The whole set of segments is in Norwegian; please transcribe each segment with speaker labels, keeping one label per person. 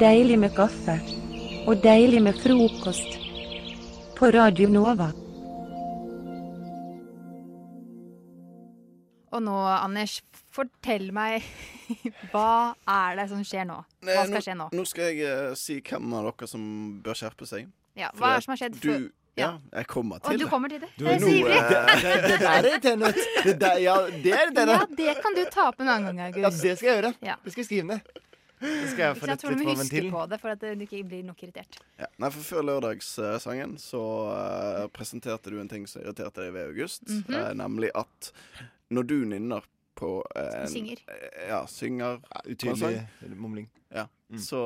Speaker 1: deilig med kaffe. Og deilig med frokost. På Radio Nova.
Speaker 2: Og nå, Anders, fortell meg Hva er det som skjer nå? Hva
Speaker 3: Eh,
Speaker 2: skal skje nå?
Speaker 3: Nå skal jeg eh, si hvem av dere som bør skjerpe seg.
Speaker 2: Ja,
Speaker 3: Fordi at
Speaker 2: hva er det som har skjedd
Speaker 3: Du,
Speaker 2: før?
Speaker 3: ja,
Speaker 2: ja.
Speaker 3: jeg kommer
Speaker 2: Og
Speaker 3: til
Speaker 2: du
Speaker 3: det.
Speaker 2: kommer til det?
Speaker 4: Du
Speaker 2: Jeg
Speaker 4: er
Speaker 3: nå,
Speaker 2: er så ivrig!
Speaker 3: eh,
Speaker 4: Det, det, det der er irriterende. ut. Det der, ja, det er irriterende.
Speaker 2: Ja, det kan du ta opp en annen gang,
Speaker 4: Ja,
Speaker 2: August.
Speaker 4: det skal jeg gjøre.
Speaker 2: Ja.
Speaker 4: Det skal jeg skrive ned. Det skal jeg
Speaker 2: Ikke
Speaker 4: få
Speaker 2: sant,
Speaker 4: rett
Speaker 2: tror du
Speaker 4: litt
Speaker 2: må
Speaker 4: på
Speaker 2: huske
Speaker 4: ventilen.
Speaker 2: på det for at du ikke blir nok irritert.
Speaker 3: Ja. Nei, for Før lørdagssangen så eh, presenterte du en ting som irriterte deg ved August.
Speaker 2: Mhm.
Speaker 3: eh, nemlig at når du nynner på eh, en-
Speaker 2: Synger.
Speaker 3: eh, Ja, synger,
Speaker 4: Utydelig mumling. Mm.
Speaker 3: så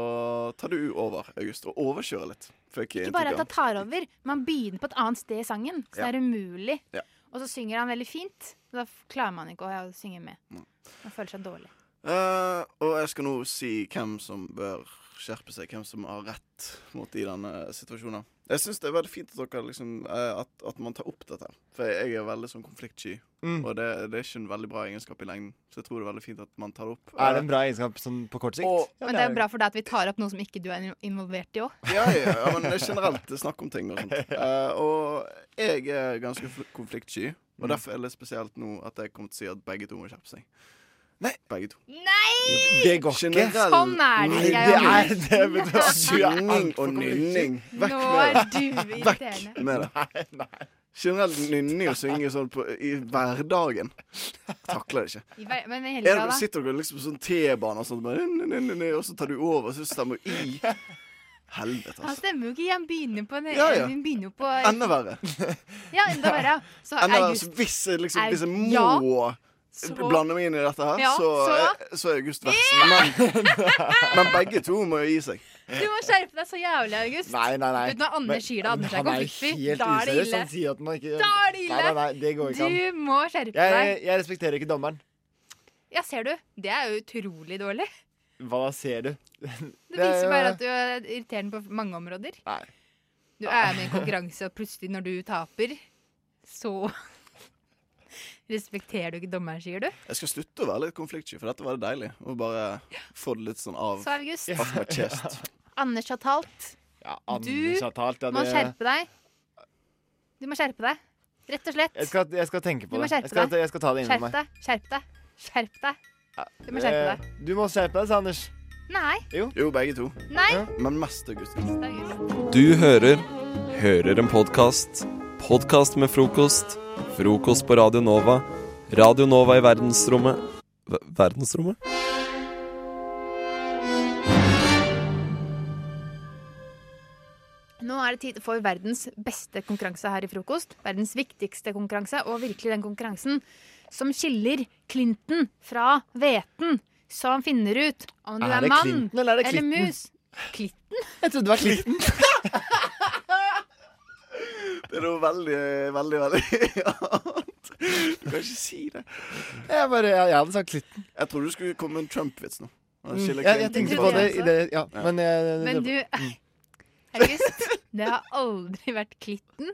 Speaker 3: tar du over, August, og overkjører litt. Fikk jeg
Speaker 2: Ikke bare at
Speaker 3: inntrykk
Speaker 2: han tar over, man begynner på et annet sted i sangen. Så
Speaker 3: Ja.
Speaker 2: det er umulig.
Speaker 3: Ja.
Speaker 2: Og så synger han veldig fint. Da f- klarer man ikke å ja, synge med.
Speaker 3: Mm.
Speaker 2: Man føler seg dårlig.
Speaker 3: av. Eh, og jeg skal nå si hvem som bør skjerpe seg, hvem som har rett mot i denne situasjonen. Jeg syns det er veldig fint at, dere liksom, eh, at, at man tar opp dette, for jeg er veldig sånn konfliktsky.
Speaker 4: Mm.
Speaker 3: Og det, det er ikke en veldig bra egenskap i lengden, så jeg tror det er veldig fint at man tar det opp. Eh,
Speaker 4: Er det en bra egenskap sånn på kort sikt?
Speaker 3: Og-
Speaker 2: Men det er jo bra for deg at vi tar opp noe som ikke du er involvert i òg.
Speaker 3: Ja, ja, ja, men det er generelt snakk om ting og sånt. Eh, og jeg er ganske fl- konfliktsky,
Speaker 4: Mm.
Speaker 3: og derfor er det spesielt nå at jeg kommer til å si at begge to må skjerpe seg. Nei, begge to.
Speaker 4: Det går ikke.
Speaker 3: Generell
Speaker 2: Sånn er det,
Speaker 4: Det
Speaker 2: jeg og
Speaker 4: er
Speaker 2: Anders.
Speaker 4: det, vet du hva. Du er
Speaker 3: synging
Speaker 4: altfor
Speaker 3: og nynning. Vekk
Speaker 2: Nå
Speaker 3: med
Speaker 2: er
Speaker 3: det.
Speaker 2: du irriterende.
Speaker 3: Med det. Generell nynning og synging sånn på, i hverdagen. Takler det ikke.
Speaker 2: I hver- Men i
Speaker 3: Er
Speaker 2: helga,
Speaker 3: det,
Speaker 2: da?
Speaker 3: sitter dere liksom på sånn T-bane og sånn, bare, nyn, nyn, nyn, nyn, og så tar du over, så stemmer du i. Helvete,
Speaker 2: Han
Speaker 3: altså.
Speaker 2: stemmer jo ikke. Han begynner på en,
Speaker 3: Ja, ja.
Speaker 2: Han begynner jo på
Speaker 3: Enda verre.
Speaker 2: Ja, enda verre. Så
Speaker 3: Enda verre.
Speaker 2: August
Speaker 3: så Hvis jeg liksom, hvis jeg
Speaker 2: Ja.
Speaker 3: må
Speaker 2: så
Speaker 3: blande meg inn i dette her,
Speaker 2: Ja,
Speaker 3: så,
Speaker 2: så?
Speaker 3: eh, så er August verst. Men, men begge to må jo gi seg.
Speaker 2: Du må skjerpe deg så jævlig, August.
Speaker 4: Nei, nei, nei.
Speaker 2: Vet du, når Anders sier det, Anders er
Speaker 4: han er
Speaker 2: konfliktfri.
Speaker 4: helt Sånn
Speaker 2: Da er det
Speaker 4: useriøs.
Speaker 2: ille.
Speaker 4: Han sier at man ikke
Speaker 2: Da er det ille.
Speaker 4: Nei, nei, nei, det går ikke an.
Speaker 2: Du må skjerpe
Speaker 4: Jeg,
Speaker 2: deg.
Speaker 4: jeg respekterer ikke dommeren.
Speaker 2: Ja, ser du? Det er jo utrolig dårlig.
Speaker 4: Hva ser du?
Speaker 2: Det viser bare at du er irriterende på mange områder.
Speaker 4: Nei.
Speaker 2: Du er med i en konkurranse, og plutselig, når du taper, så Respekterer du ikke dommeren, sier du?
Speaker 3: Jeg skal slutte å være litt konfliktsky, for dette var det deilig. Og bare få det litt sånn av,
Speaker 2: Så August,
Speaker 3: av my chest.
Speaker 2: Anders har talt.
Speaker 4: Ja,
Speaker 2: Du
Speaker 4: Anders har talt. Ja,
Speaker 2: Du må
Speaker 4: det,
Speaker 2: skjerpe deg. Du må skjerpe deg. Rett og slett.
Speaker 4: jeg, skal, jeg skal tenke
Speaker 2: Du
Speaker 4: på
Speaker 2: må
Speaker 4: det.
Speaker 2: skjerpe
Speaker 4: Jeg skal,
Speaker 2: deg.
Speaker 4: jeg skal ta det
Speaker 2: Skjerp
Speaker 4: innom meg.
Speaker 2: deg. Skjerp deg. Skjerp deg. Du må skjerpe deg.
Speaker 4: Eh, Du må skjerpe deg, sa Anders.
Speaker 2: Nei.
Speaker 3: Jo, begge to.
Speaker 2: Nei.
Speaker 3: Men mest August.
Speaker 2: August.
Speaker 5: Du hører Hører en podkast. Podkast med frokost. Frokost på Radio Nova. Radio Nova i verdensrommet Ver- Verdensrommet?
Speaker 2: Nå er det tid for verdens beste konkurranse her i frokost. Verdens viktigste konkurranse, og virkelig den konkurransen som skiller Clinton fra hveten. Som finner ut om du er,
Speaker 4: det
Speaker 2: mann
Speaker 4: Clinton eller er det
Speaker 2: eller
Speaker 4: Clinton?
Speaker 2: mus. Klitten?
Speaker 4: Jeg trodde det var Clinton.
Speaker 3: Det er noe veldig, veldig, veldig annet. Du kan ikke si det.
Speaker 4: Jeg, bare, jeg, jeg hadde sagt Clinton. Mm.
Speaker 3: Jeg trodde du skulle komme med en Trump-vits nå.
Speaker 4: Jeg, jeg tenkte på det i det Ja, men eh, Mm. jeg,
Speaker 2: Men du, August, det har aldri vært Klitten.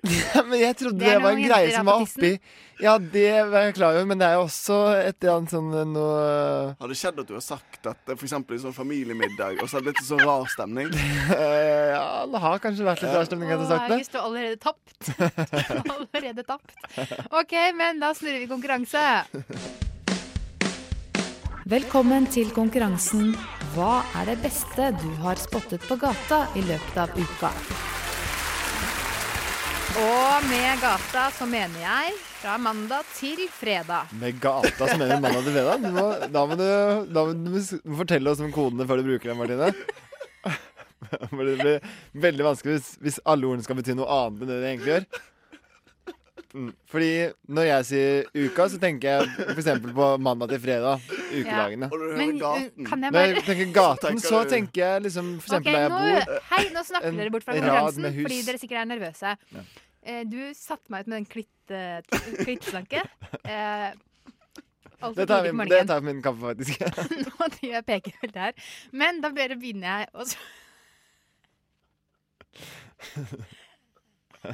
Speaker 4: men jeg trodde
Speaker 2: Det er
Speaker 4: det var
Speaker 2: noen
Speaker 4: en
Speaker 2: jenter
Speaker 4: greie
Speaker 2: her
Speaker 4: som
Speaker 2: på
Speaker 4: var oppi
Speaker 2: tissen.
Speaker 4: Ja, det var jeg klar over, men det er jo også et eller annet sånn eh, noe
Speaker 3: Har det skjedd at du har sagt dette for eksempel i sånn familiemiddag, og så har det blitt en sånn rar stemning? Eh,
Speaker 4: eh, Ja, det har kanskje vært litt rar
Speaker 2: Å,
Speaker 4: stemning, hadde jeg sagt det.
Speaker 2: August, du har allerede tapt. Du har allerede tapt. OK, men da snurrer vi konkurranse.
Speaker 6: Velkommen til konkurransen Hva er det beste du har spottet på gata i løpet av uka?
Speaker 2: Og med gata så mener jeg fra mandag til fredag.
Speaker 4: Med gata som mener mandag til fredag? Du må, da, må du, da må du s- fortelle oss om kodene før du bruker dem, Martine. For det blir veldig vanskelig hvis, hvis alle ordene skal bety noe annet enn det de egentlig gjør. Mm, Fordi når jeg sier uka, så tenker jeg f.eks. på mandag til fredag. Ukedagene.
Speaker 3: Og du hører
Speaker 2: Men uh,
Speaker 3: gaten.
Speaker 2: kan jeg
Speaker 4: Når
Speaker 2: bare
Speaker 4: jeg tenker gaten,
Speaker 3: tenker
Speaker 4: så
Speaker 3: du-
Speaker 4: tenker jeg liksom f.eks.
Speaker 2: Ok,
Speaker 4: der jeg
Speaker 2: nå,
Speaker 4: bor.
Speaker 2: Hei, nå snakker
Speaker 4: en
Speaker 2: dere bort fra
Speaker 4: rad
Speaker 2: konkurransen
Speaker 4: med hus.
Speaker 2: fordi dere sikkert er nervøse. Eh, du satte meg ut med den klitte- klittslanke. Eh, alt
Speaker 4: Det
Speaker 2: for
Speaker 4: tar
Speaker 2: tidlig
Speaker 4: jeg
Speaker 2: på
Speaker 4: min- det
Speaker 2: morgenen.
Speaker 4: tar jeg på min kaffe, faktisk.
Speaker 2: Nå driver jeg og peker vel der. Men da bare begynner jeg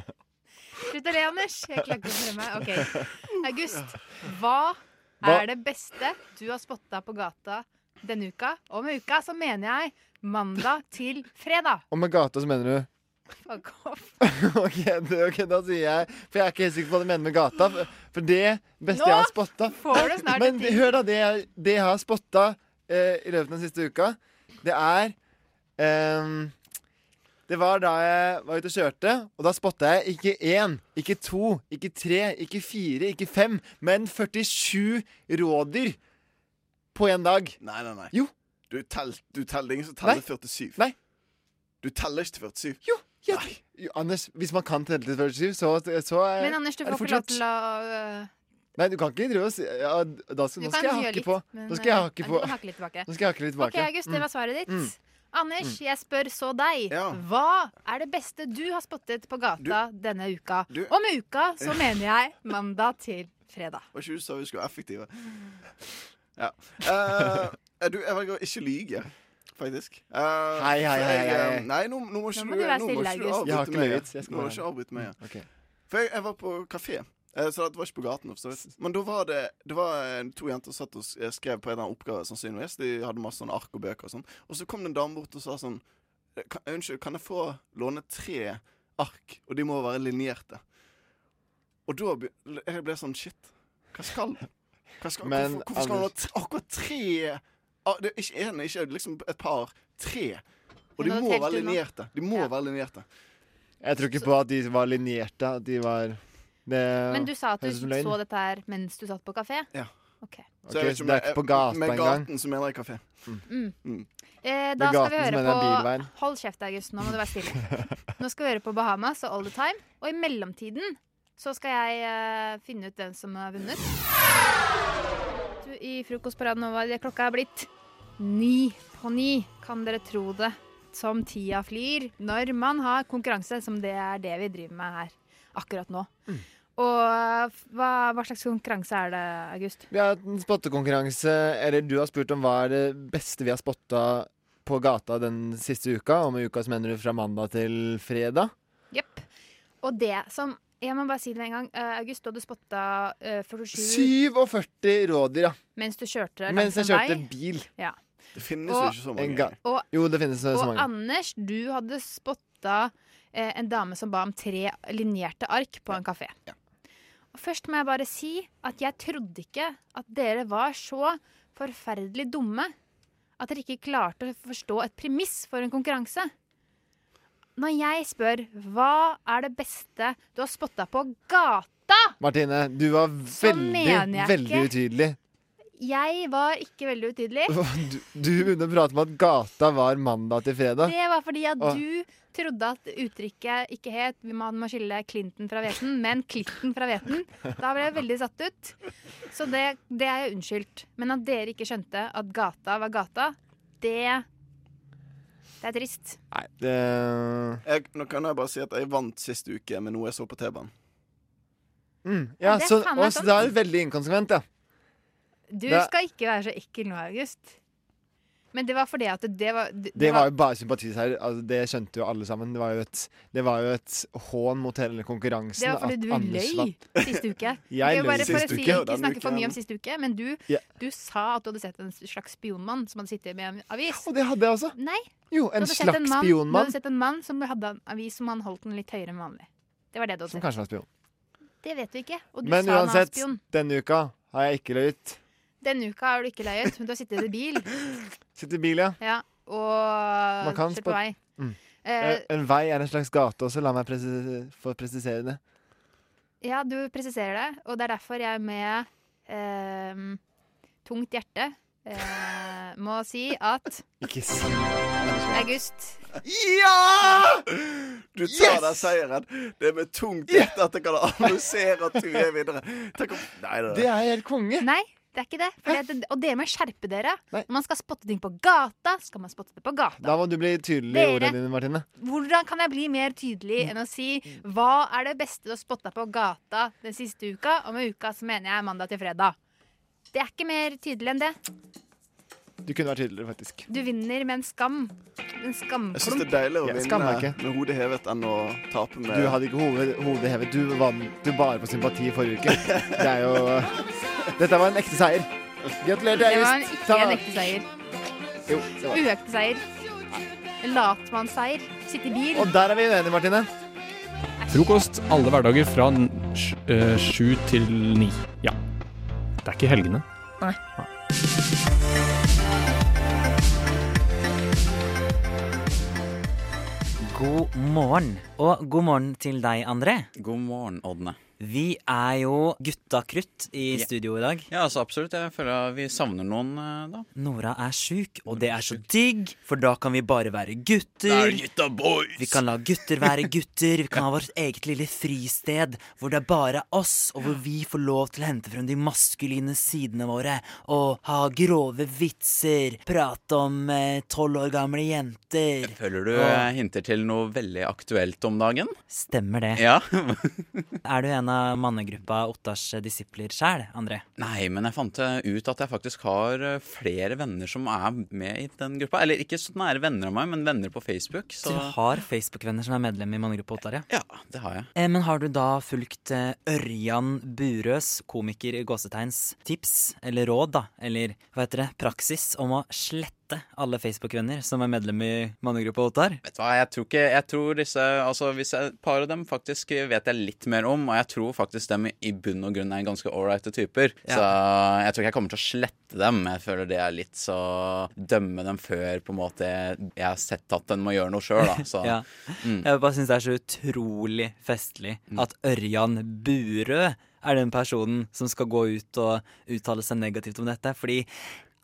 Speaker 2: å s- Slutt å le, Anders. Jeg klarer ikke å høre meg. OK. August, hva
Speaker 4: Hva-
Speaker 2: er det beste du har spotta på gata denne uka, og med uka så mener jeg mandag til fredag.
Speaker 4: Og med gata så mener du
Speaker 2: Fuck off.
Speaker 4: ok, det- ok, da sier jeg For jeg er ikke helt sikker på hva du mener med gata. for- For det beste jeg har spotta
Speaker 2: Får du snart
Speaker 4: Men
Speaker 2: et tips?
Speaker 4: hør da, det jeg, det jeg har spotta eh, i løpet av den siste uka, det er ehm, Det var da jeg var ute og kjørte, og da spotta jeg ikke én, ikke to, ikke tre, ikke fire, ikke fem, men 47 rådyr på én dag.
Speaker 3: Nei, nei, nei.
Speaker 4: Jo.
Speaker 3: Du teller du tell, det er ingen som teller 47.
Speaker 4: Nei.
Speaker 3: Du teller ikke til 47.
Speaker 4: Jo, jeg-
Speaker 3: Nei.
Speaker 4: jo, Anders, hvis man kan telle til 47, så, så er-
Speaker 2: Men Anders, du
Speaker 4: Eh, er det
Speaker 2: får ikke
Speaker 4: fort
Speaker 2: lov
Speaker 4: gjort.
Speaker 2: til å øh,
Speaker 4: Nei, du kan ikke drive og si ja, da
Speaker 2: Du
Speaker 4: skal, Nå
Speaker 2: kan
Speaker 4: skal jeg
Speaker 2: gjøre
Speaker 4: hakke
Speaker 2: litt,
Speaker 4: på.
Speaker 2: men,
Speaker 4: Nå skal jeg
Speaker 2: øh,
Speaker 4: hakke
Speaker 2: Du
Speaker 4: på.
Speaker 2: kan hakke litt tilbake.
Speaker 4: Nå skal jeg hakke litt
Speaker 2: Ok,
Speaker 4: tilbake.
Speaker 2: August, det var svaret ditt.
Speaker 4: Mm.
Speaker 2: Anders, jeg spør så deg.
Speaker 3: Ja.
Speaker 2: Hva er det beste du har spottet på gata denne uka?
Speaker 3: Du-
Speaker 2: Og med uka så mener jeg mandag til fredag.
Speaker 3: Var ikke du som sa vi skulle være effektive? Ja. Eh, du, jeg velger å ikke lyge, faktisk. Eh,
Speaker 4: Hei, hei,
Speaker 3: for jeg,
Speaker 4: hei, hei.
Speaker 3: eh, Nei, nå, nå må ikke
Speaker 2: må
Speaker 3: du,
Speaker 2: du være
Speaker 3: nå må
Speaker 2: stille,
Speaker 3: ikke du
Speaker 2: August.
Speaker 4: Jeg har ikke
Speaker 3: avbryte meg.
Speaker 4: løyet, jeg skal
Speaker 3: er. Nå må
Speaker 4: være
Speaker 3: du ikke avbryte meg.
Speaker 4: Mm, ok.
Speaker 3: For jeg, jeg er. var på kafé. eh, Så det var ikke på gaten. for så vidt. Men da var det, det var eh, to jenter som satt og s- eh, skrev på en eller annen oppgave, sannsynligvis. De hadde masse sånne ark og bøker og sånn. Og så kom det en dame bort og sa sånn eh, kan, Unnskyld, kan jeg få låne tre ark? Og de må være linjerte. Og da be, jeg ble sånn Shit, hva skal hun? Hva skal,
Speaker 4: Men,
Speaker 3: hvorfor, hvorfor skal hun ha
Speaker 4: Anders-
Speaker 3: tre, akkurat tre ah, det er Ikke én, ikke liksom et par. Tre. Og
Speaker 2: Hun
Speaker 3: de
Speaker 2: hadde
Speaker 3: må
Speaker 2: telt
Speaker 3: være
Speaker 2: unna.
Speaker 3: linjerte. De må
Speaker 2: Ja.
Speaker 3: være linjerte.
Speaker 4: Jeg tror ikke på at de var linjerte. At de var det,
Speaker 2: Men du sa at du
Speaker 4: Høres ut som løgn.
Speaker 2: så dette her mens du satt på kafé?
Speaker 3: Ja.
Speaker 2: Ok.
Speaker 4: Ok,
Speaker 3: Så jeg vet
Speaker 4: så
Speaker 3: om
Speaker 4: det er
Speaker 3: jeg-
Speaker 4: ikke på gata
Speaker 3: Med
Speaker 4: engang.
Speaker 3: gaten så mener jeg kafé. Mm.
Speaker 2: Eh,
Speaker 4: Med
Speaker 2: da skal
Speaker 4: gaten
Speaker 2: vi
Speaker 4: som
Speaker 2: høre
Speaker 4: mener jeg
Speaker 2: på
Speaker 4: bilveien.
Speaker 2: Hold kjeft, August. Nå må du være stille. Nå skal vi høre på Bahamas og All the Time. Og i mellomtiden så skal jeg eh, finne ut hvem som har vunnet. Du, I Frokostparaden over det klokka er blitt ni på ni. Kan dere tro det? Som tida flyr når man har konkurranse, som det er det vi driver med her akkurat nå.
Speaker 4: Mm.
Speaker 2: Og eh, hva, hva slags konkurranse er det, August?
Speaker 4: Vi har hatt en spottekonkurranse, eller du har spurt om hva er det beste vi har spotta på gata den siste uka, og med uka så mener du fra mandag til fredag.
Speaker 2: Jepp. Og det som Jeg må bare si det med en gang. Eh, August, du hadde spotta eh, 47
Speaker 4: 47 rådyr, ja.
Speaker 2: mens du kjørte langs
Speaker 4: Mens jeg
Speaker 2: en
Speaker 4: kjørte
Speaker 2: vei.
Speaker 4: bil.
Speaker 3: Det finnes jo
Speaker 2: Og-
Speaker 3: ikke så mange.
Speaker 4: En gang.
Speaker 2: Og,
Speaker 4: Jo, det finnes så
Speaker 2: og
Speaker 4: mange.
Speaker 2: Anders, du hadde spotta eh, en dame som ba om tre linjerte ark på en kafé. Og først må jeg bare si at jeg trodde ikke at dere var så forferdelig dumme at dere ikke klarte å forstå et premiss for en konkurranse. Når jeg spør hva er det beste du har spotta på gata
Speaker 4: Martine, du var
Speaker 2: Så mener
Speaker 4: veldig,
Speaker 2: jeg
Speaker 4: veldig
Speaker 2: ikke.
Speaker 4: utydelig.
Speaker 2: Jeg var ikke veldig utydelig.
Speaker 4: Du, du begynte å prate om at gata var mandag til fredag.
Speaker 2: Det var fordi at
Speaker 4: Åh.
Speaker 2: du trodde at uttrykket ikke het vi må- må skille Clinton fra hveten, men Clinton fra hveten. Da ble jeg veldig satt ut. Så det, det er jeg unnskyldt. Men at dere ikke skjønte at gata var gata, det Det er trist.
Speaker 4: Nei, det
Speaker 3: Jeg, nå kan jeg bare si at jeg vant sist uke med noe jeg så på T-banen.
Speaker 4: mm,
Speaker 2: Ja,
Speaker 4: Ja,
Speaker 2: det er
Speaker 4: så,
Speaker 2: faen meg
Speaker 4: og, så
Speaker 2: sant.
Speaker 4: da er det veldig inkonsekvent, ja.
Speaker 2: Du
Speaker 4: Det-
Speaker 2: skal ikke være så ekkel nå, August. Men det var fordi at det var Det,
Speaker 4: Det var jo bare sympatiseier. Altså, det skjønte jo alle sammen. Det var jo et, det var jo et hån mot hele konkurransen.
Speaker 2: det var fordi
Speaker 4: at
Speaker 2: du
Speaker 4: Anders
Speaker 2: løy
Speaker 4: vant.
Speaker 2: siste uke.
Speaker 4: Jeg
Speaker 2: Ok, bare
Speaker 4: løy
Speaker 2: for å
Speaker 3: sist
Speaker 4: sist.
Speaker 2: si,
Speaker 3: uke, og
Speaker 2: Ikke
Speaker 3: denne
Speaker 2: snakke for
Speaker 3: uken-
Speaker 2: mye om siste uke, men du,
Speaker 4: Ja.
Speaker 2: du sa at du hadde sett en slags spionmann som hadde sittet med en avis.
Speaker 4: Og det hadde jeg også.
Speaker 2: Nei,
Speaker 4: Jo,
Speaker 2: du
Speaker 4: en
Speaker 2: hadde, sett en
Speaker 4: slags
Speaker 2: mann, du hadde
Speaker 4: spionmann.
Speaker 2: sett en mann som hadde en avis som han holdt den litt høyere enn vanlig. Det var det du
Speaker 4: Som
Speaker 2: hadde sett.
Speaker 4: kanskje var spion.
Speaker 2: Det vet vi ikke. Og du
Speaker 4: Men
Speaker 2: sa han var
Speaker 4: uansett,
Speaker 2: spion.
Speaker 4: denne uka har jeg ikke løyet.
Speaker 2: Denne uka har du ikke løyet, men du har sittet i bil
Speaker 4: Sitter i bil, ja.
Speaker 2: ja, og
Speaker 4: Man kan
Speaker 2: kjørt på
Speaker 4: spå-
Speaker 2: vei.
Speaker 4: Mm.
Speaker 2: Eh,
Speaker 4: En en vei er en slags gate også, la meg presi få presisere det.
Speaker 2: ja, du presiserer det, og det er derfor jeg med ehm, tungt hjerte eh, må si at
Speaker 4: Ikke si
Speaker 2: August
Speaker 3: Ja! Du tar
Speaker 4: Yes!
Speaker 3: den seieren. Det er med tungt hjerte at jeg kan annonsere at du er videre. Tenk om Nei, det,
Speaker 4: Det er helt konge!
Speaker 2: Nei, det er ikke det. Fordi at det og dere må skjerpe dere.
Speaker 4: Nei.
Speaker 2: Når man skal spotte ting på gata, skal man spotte det på gata.
Speaker 4: Da må du bli tydelig i
Speaker 2: Dere-
Speaker 4: ordene dine, Martine.
Speaker 2: Hvordan kan jeg bli mer tydelig enn å si hva er det beste du har spotta på gata den siste uka? Og med uka så mener jeg mandag til fredag. Det er ikke mer tydelig enn det.
Speaker 4: Du kunne vært tydeligere, faktisk.
Speaker 2: Du vinner med en skam. En
Speaker 3: Jeg syns det
Speaker 2: skamklump.
Speaker 3: er deiligere å
Speaker 4: Jeg
Speaker 3: vinne
Speaker 4: skammer meg ikke.
Speaker 3: med hodet hevet enn å tape med
Speaker 4: Du hadde ikke hoved, hodet hevet. Du vant jo bare på sympati i forrige uke. Det er jo Dette var en ekte seier. Gratulerer til
Speaker 2: Det var
Speaker 4: Eilist.
Speaker 2: en ikke
Speaker 4: Ta-
Speaker 2: en ekte seier.
Speaker 4: Jo, det var det.
Speaker 2: Uøkte seier. Latmannsseier. Sitte i bil.
Speaker 4: Og der er vi uenige, Martine.
Speaker 7: Frokost alle hverdager fra n- sj- eh, sju til ni. Ja. Det er ikke helgene.
Speaker 8: God morgen, og god morgen til deg, André.
Speaker 9: God morgen, Ådne.
Speaker 8: Vi er jo gutta krutt i
Speaker 9: Ja.
Speaker 8: studio i dag.
Speaker 9: Ja, altså absolutt. Jeg føler vi savner noen eh, da.
Speaker 8: Nora er sjuk, og det er så digg, for da kan vi bare være gutter.
Speaker 9: gutta boys!
Speaker 8: Vi kan la gutter være gutter, vi kan ha vårt eget lille fristed hvor det er bare oss, og hvor vi får lov til å hente frem de maskuline sidene våre og ha grove vitser, prate om eh, tolv år gamle jenter.
Speaker 9: Føler du eh, hinter til noe veldig aktuelt om dagen?
Speaker 8: Stemmer det.
Speaker 9: Ja.
Speaker 8: Er du en av mannegruppa Ottars disipler sjæl, André?
Speaker 9: Nei, men jeg fant eh, ut at jeg faktisk har eh, flere venner som er med i den gruppa. Eller ikke så nære venner av meg, men venner på Facebook.
Speaker 8: Du
Speaker 9: Så
Speaker 8: har Facebook-venner som er medlem i mannegruppa Ottar, ja.
Speaker 9: ja, det har jeg.
Speaker 8: Eh, Men har du da fulgt eh, Ørjan Burøs, komiker i gåsetegns, tips eller råd, da? Eller hva heter det, praksis om å slette alle Facebook-venner som er medlem i mannegruppa Ottar?
Speaker 9: Vet du hva, jeg tror ikke Jeg tror disse Altså, hvis jeg, et par av dem faktisk vet jeg litt mer om, og jeg tror faktisk dem i bunn og grunn er ganske ålreite typer.
Speaker 8: Ja.
Speaker 9: Så jeg tror ikke jeg kommer til å slette dem. Jeg føler det er litt så Dømme dem før på en måte jeg har sett at den må gjøre noe sjøl, da. Mm. Så
Speaker 8: Ja. Jeg bare syns det er så utrolig festlig
Speaker 9: Mm.
Speaker 8: at Ørjan Burø er den personen som skal gå ut og uttale seg negativt om dette. Fordi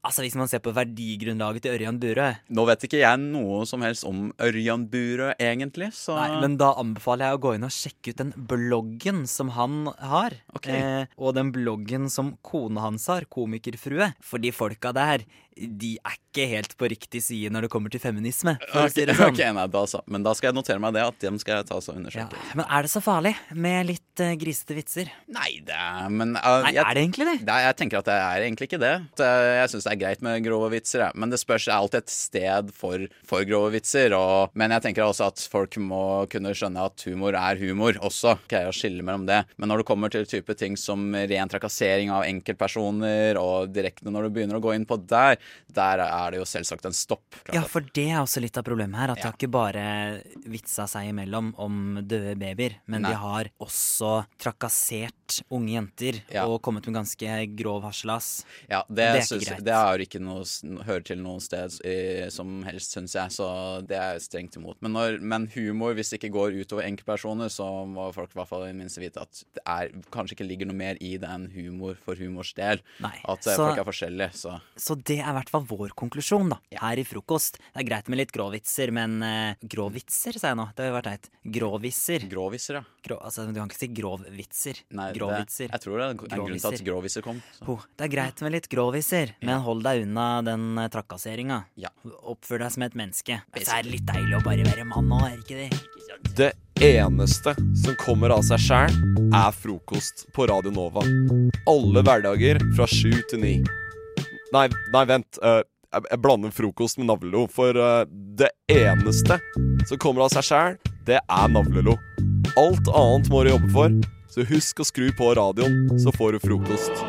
Speaker 8: altså, hvis man ser på verdigrunnlaget til Ørjan Burø
Speaker 9: nå vet ikke jeg noe som helst om Ørjan Burøe, egentlig, så
Speaker 8: Nei, men da anbefaler jeg å gå inn og sjekke ut den bloggen som han har.
Speaker 9: Ok.
Speaker 8: Eh, og den bloggen som kona hans har, komikerfrue. For de folka der, de er ikke helt på riktig side når det kommer til feminisme. For å
Speaker 9: Ok,
Speaker 8: si det sånn.
Speaker 9: ok, nei, da, så. Men da skal jeg notere meg det, at dem skal jeg ta så
Speaker 8: Ja,
Speaker 9: undersøke.
Speaker 8: men er det så farlig med litt eh, grisete vitser?
Speaker 9: Nei, det er Men uh,
Speaker 8: Nei,
Speaker 9: jeg,
Speaker 8: er det egentlig det?
Speaker 9: Nei, jeg tenker at det er egentlig ikke det. At, eh, Jeg syns det er greit med grove vitser, jeg. men det spørs det er alltid et sted for, for grove vitser. Og, men jeg tenker også at folk må kunne skjønne at humor er humor også. Greier å skille mellom det. Men når det kommer til type ting som ren trakassering av enkeltpersoner, og direkte når du begynner å gå inn på der, der er det jo selvsagt en stopp.
Speaker 8: Ja, for det er også litt av problemet her. At de har ikke bare vitsa seg imellom om døde babyer, men
Speaker 9: Nei.
Speaker 8: de har også trakassert unge jenter
Speaker 9: Ja.
Speaker 8: og kommet med ganske grov harselas.
Speaker 9: Ja, det,
Speaker 8: er ikke
Speaker 9: synes,
Speaker 8: greit.
Speaker 9: det er jo ikke noe s- hører til noe sted eh, som helst, syns jeg, så det er jeg strengt imot. Men, når, men humor, hvis det ikke går utover enkeltpersoner, så må folk i hvert fall i det minste vite at det er, kanskje ikke ligger noe mer i det enn humor for humors del.
Speaker 8: Nei,
Speaker 9: At eh,
Speaker 8: så-
Speaker 9: folk er forskjellige, så
Speaker 8: Så det er i hvert fall vår konklusjon, da. Her i frokost. Det er greit med litt gråvitser, men eh, Gråvitser, sa jeg nå. Det har jo vært teit. Gråvisser.
Speaker 9: Gråviser, ja.
Speaker 8: Grå, altså, du kan ikke si grovvitser.
Speaker 9: Nei, det-
Speaker 8: gråvitser.
Speaker 9: Jeg tror det er en grunn til at gråviser kom. Så.
Speaker 8: Ho, det er greit med litt gråviser, men hold deg unna den eh, trakasseringa.
Speaker 9: Ja.
Speaker 8: Oppfør deg som et menneske. Så er det litt deilig å bare være mann nå, er det ikke det?
Speaker 5: Det eneste som kommer av seg sjæl, er frokost på Radio Nova. Alle hverdager fra sju til ni. Nei, nei vent. eh, jeg, jeg blander frokost med navlelo, for eh, det eneste som kommer av seg sjæl, det er navlelo. Alt annet må du jobbe for, så husk å skru på radioen, så får du frokost.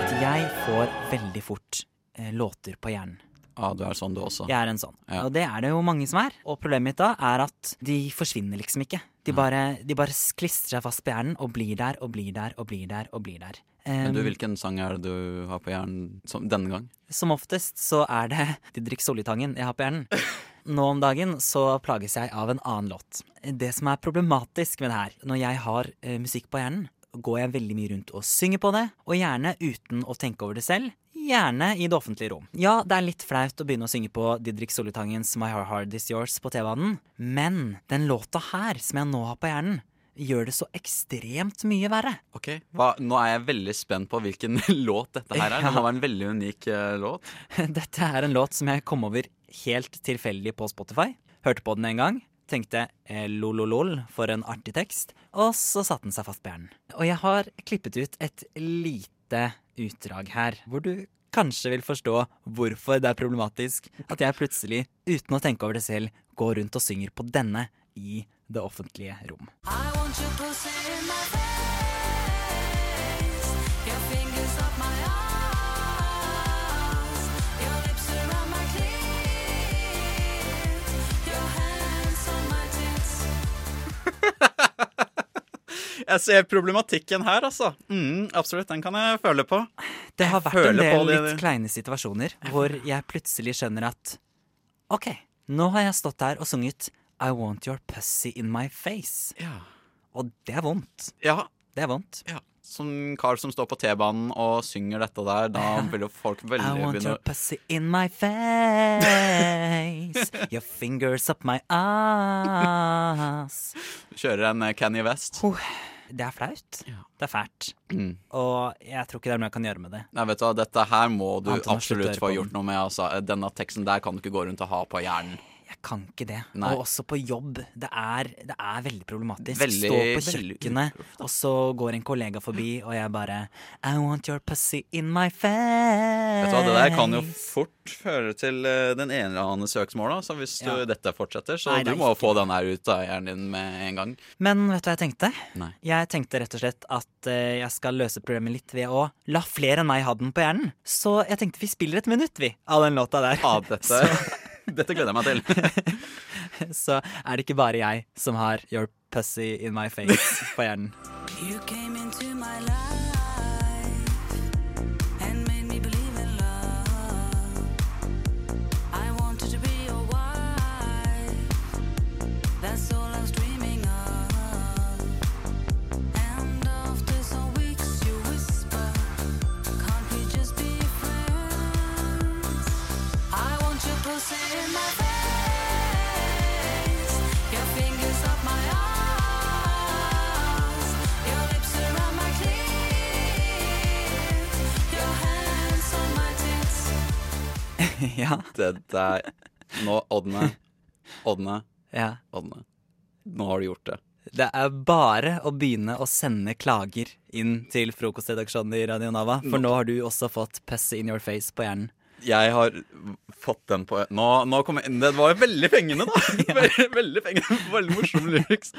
Speaker 8: At jeg får veldig fort eh, låter på hjernen.
Speaker 9: Ah, du er sånn, du også.
Speaker 8: Jeg er en sånn.
Speaker 9: Ja.
Speaker 8: Og det er det jo mange som er. Og problemet mitt da er at de forsvinner liksom ikke. De bare, de bare klistrer seg fast på hjernen og blir der og blir der og blir der og blir der.
Speaker 9: Men du,
Speaker 8: Em,
Speaker 9: hvilken sang er det du har på hjernen som, denne gang?
Speaker 8: Som oftest så er det Didrik Solitangen jeg har på hjernen. Nå om dagen så plages jeg av en annen låt. Det som er problematisk med det her, når jeg har eh, musikk på hjernen, går jeg veldig mye rundt og synger på det, og gjerne uten å tenke over det selv. Gjerne i det offentlige rom. Ja, det er litt flaut å begynne å synge på Didrik Solitangens My Heart Hard Is Yours på T-banen, men den låta her, som jeg nå har på hjernen, gjør det så ekstremt mye verre.
Speaker 9: Ok, Hva, Nå er jeg veldig spent på hvilken låt dette her er. Det må være en veldig unik eh, låt.
Speaker 8: Dette er en låt som jeg kom over helt tilfeldig på Spotify. Hørte på den en gang, tenkte eh, lololol for en artig tekst, og så satte den seg fast på hjernen. Og jeg har klippet ut et lite utdrag her, hvor du kanskje vil forstå hvorfor det er problematisk at jeg plutselig, uten å tenke over det selv, går rundt og synger på denne i det offentlige rom.
Speaker 10: I want you closer in my face. Your fingers
Speaker 9: Jeg ser problematikken her, altså. Mm, absolutt, den kan jeg føle på.
Speaker 8: Det har vært
Speaker 9: føler
Speaker 8: en del
Speaker 9: på det,
Speaker 8: litt
Speaker 9: det.
Speaker 8: kleine situasjoner hvor jeg plutselig skjønner at OK, nå har jeg stått der og sunget I want your pussy in my face.
Speaker 9: Ja.
Speaker 8: Og det er vondt.
Speaker 9: ja.
Speaker 8: Det er vondt.
Speaker 9: Som kar som står på T-banen og synger dette der, da vil jo folk
Speaker 8: I
Speaker 9: veldig
Speaker 8: want
Speaker 9: begynne
Speaker 8: your
Speaker 9: å
Speaker 8: pussy in my face. Your fingers up my ass.
Speaker 9: kjøre en Canny West.
Speaker 8: Det er flaut.
Speaker 9: Ja.
Speaker 8: Det er fælt.
Speaker 9: Mm.
Speaker 8: Og jeg tror ikke det er noe jeg kan gjøre med det.
Speaker 9: Nei, vet du hva, dette her må du
Speaker 8: Anton har sluttet å
Speaker 9: absolutt
Speaker 8: høre
Speaker 9: få
Speaker 8: på
Speaker 9: gjort
Speaker 8: den.
Speaker 9: noe med. Altså. Denne teksten der kan du ikke gå rundt og ha på hjernen.
Speaker 8: Jeg kan ikke det.
Speaker 9: Nei.
Speaker 8: Og også på jobb. Det er, det er veldig problematisk.
Speaker 9: Veldig-
Speaker 8: Stå på
Speaker 9: veldig
Speaker 8: kjøkkenet, og så går en kollega forbi, og jeg bare I want your pussy in my face.
Speaker 9: Vet du hva, Det der kan jo
Speaker 8: Eh.
Speaker 9: fort føre til eh, den ene eller andre søksmål, da, så hvis du,
Speaker 8: Ja.
Speaker 9: dette fortsetter. Så
Speaker 8: Nei, det
Speaker 9: du
Speaker 8: er
Speaker 9: må
Speaker 8: ikke
Speaker 9: få den her ut av hjernen din med en gang.
Speaker 8: Men vet du hva jeg tenkte?
Speaker 9: Nei.
Speaker 8: Jeg tenkte rett og slett at eh, jeg skal løse problemet litt ved å la flere enn meg ha den på hjernen. Så jeg tenkte vi spiller et minutt, vi, av den låta der.
Speaker 9: Ah, dette, dette gleder jeg meg til.
Speaker 8: Så er det ikke bare jeg som har your pussy in my face på hjernen.
Speaker 10: You came into my life and made me believe in love. I wanted to be your wife. That's all I was dreaming of. And after some weeks, you whisper, Can't we just be friends? I want your pussy in my face, your fingers up my arms, your lips around my clit, your hands on my tits.
Speaker 8: ja,
Speaker 9: Det der Nå, Ådne, Ådne,
Speaker 8: ja.
Speaker 9: Ådne. Nå har du gjort det.
Speaker 8: Det er bare å begynne å sende klager inn til frokostredaksjonen i Radio Nava, for nå har du også fått pussy in your face på hjernen.
Speaker 9: Jeg har fått den på Nå, nå kommer Det var jo veldig pengende, da! Veldig, veldig pengende. Veldig morsom lyriks.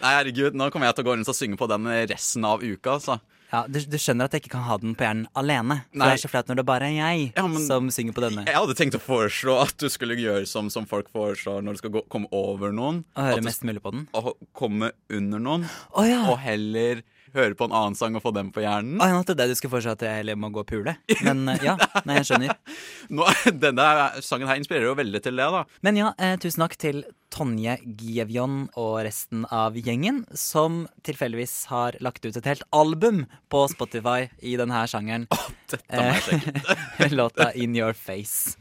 Speaker 9: Nei, herregud, nå kommer jeg til å gå rundt og synge på den resten av uka, altså.
Speaker 8: Ja, du, du skjønner at jeg ikke kan ha den på hjernen alene. For
Speaker 9: Nei.
Speaker 8: det er så flaut når det bare er jeg
Speaker 9: Ja, men-
Speaker 8: som synger på denne.
Speaker 9: Jeg hadde tenkt å foreslå at du skulle gjøre som, som folk foreslår når du skal gå, komme over noen.
Speaker 8: Og høre
Speaker 9: at du
Speaker 8: mest mulig på den.
Speaker 9: skal ho- komme under noen,
Speaker 8: Å ja!
Speaker 9: og heller høre på en annen sang og få den på hjernen.
Speaker 8: Å, jeg nådde det du skulle foreslå at jeg heller må gå og pule. Men eh, ja, nei, jeg skjønner.
Speaker 9: Nå, denne sangen her inspirerer jo veldig til det, da.
Speaker 8: Men ja, eh, tusen takk til Tonje Gievjon og resten av gjengen, som tilfeldigvis har lagt ut et helt album på Spotify i denne her sjangeren. Eh,
Speaker 9: Dette må jeg sjekke.
Speaker 8: Låta In Your Face.